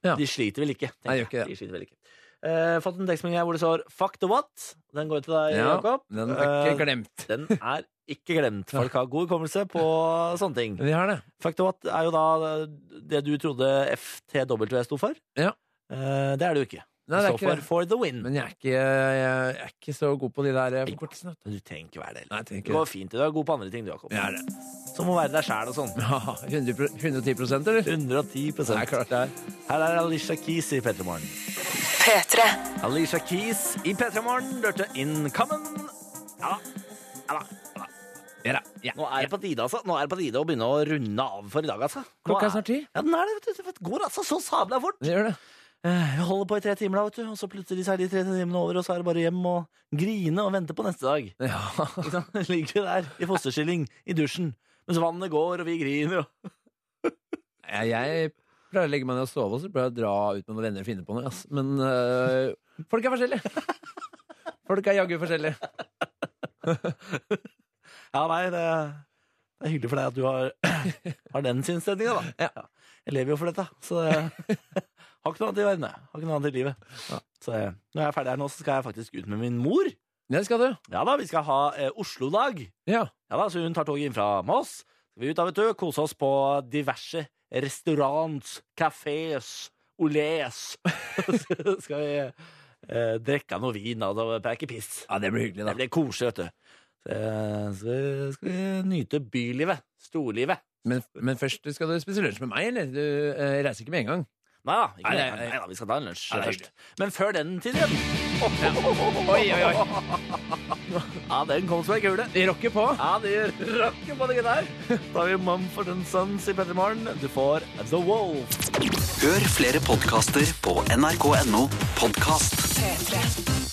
Speaker 4: Ja.
Speaker 2: de sliter vel ikke. tenker
Speaker 4: Nei, gjør ikke
Speaker 2: jeg.
Speaker 4: det.
Speaker 2: De sliter vel ikke. Eh, fått en tekstmelding her hvor det står 'fuck the what'. Den går til deg, Jakob.
Speaker 4: den er
Speaker 2: Eh,
Speaker 4: ikke glemt.
Speaker 2: den er ikke glemt. Folk har god hukommelse på sånne ting.
Speaker 4: Vi har det.
Speaker 2: Fuck the what er jo da det du eh, trodde FTW sto for.
Speaker 4: Ja.
Speaker 2: Eh, det er det jo ikke.
Speaker 4: Nei, det er ikke
Speaker 2: Stoffer
Speaker 4: det.
Speaker 2: for the win.
Speaker 4: Men jeg er, ikke, jeg er ikke så god på de der eh, forkortelsene. vet du.
Speaker 2: Du trenger ikke være det.
Speaker 4: Nei, jeg tenker
Speaker 2: Det går fint. Du er god på andre ting, du, Jakob.
Speaker 4: Jeg er det.
Speaker 2: Som å være deg sjæl og sånn.
Speaker 4: Ja, 100 pro- 110 eller?
Speaker 2: 110
Speaker 4: Det er klart det er.
Speaker 2: Her er Alicia Keys i P3 Morgen.
Speaker 3: P3.
Speaker 2: Alicia Keys i P3 Morgen lurte Incoming. Ja da. Ja da. Ja da. Nå er det på tide altså. Nå er det på tide å begynne å runde av for i dag. altså. Nå
Speaker 4: Klokka er snart ti.
Speaker 2: Ja, den er det. vet du. Det går altså så sabla fort.
Speaker 4: Det gjør det.
Speaker 2: Eh, Vi holder på i tre timer, da, vet du. og så plutselig så er de tre timene over, og så er det bare hjem og grine og vente på neste dag.
Speaker 4: Ja.
Speaker 2: Ikke sant? Ligger du der i fosterstilling i dusjen mens vannet går, og vi griner. og-
Speaker 4: Jeg, jeg pleier å legge meg ned og sove, og så pleier jeg å dra ut med noen venner og finne på noe. Ass. Men øh, folk er forskjellige. Folk er jaggu forskjellige.
Speaker 2: Ja, nei, det, det er hyggelig for deg at du har, har den sinnsstemninga, da. Jeg lever jo for dette, så det, har ikke noe annet i verden. jeg. Har ikke noe annet i livet. Så eh, når jeg er ferdig her nå, så skal jeg faktisk ut med min mor.
Speaker 4: Det skal du.
Speaker 2: Ja da, vi skal ha eh, Oslo-dag.
Speaker 4: Ja.
Speaker 2: Ja da, så hun tar toget inn fra Moss. Skal vi ut da, vet du, kose oss på diverse restaurants, kafés, olés. Så skal vi eh, drikke noe vin da, og preke piss.
Speaker 4: ja, det blir hyggelig,
Speaker 2: Det
Speaker 4: da.
Speaker 2: blir koselig, vet du. Så, så skal vi nyte bylivet. Storlivet.
Speaker 4: Men, men først skal du spise lunsj med meg, eller? Du øh, reiser ikke med en gang.
Speaker 2: Nei da, ikke
Speaker 4: Nei,
Speaker 2: det.
Speaker 4: nei, nei.
Speaker 2: Nei da, vi skal ta en lunsj
Speaker 4: Nei, det er
Speaker 2: først. Men før den tid igjen. Oi, oi, oi. Ja, den kom som ei kule.
Speaker 4: Vi rocker på.
Speaker 2: Ja, det gjør rakker på det der. Da har vi Mumford Sons i Petter Morgen. Du får The Wolf.
Speaker 1: Hør flere podkaster på nrk.no podkast.
Speaker 3: P3.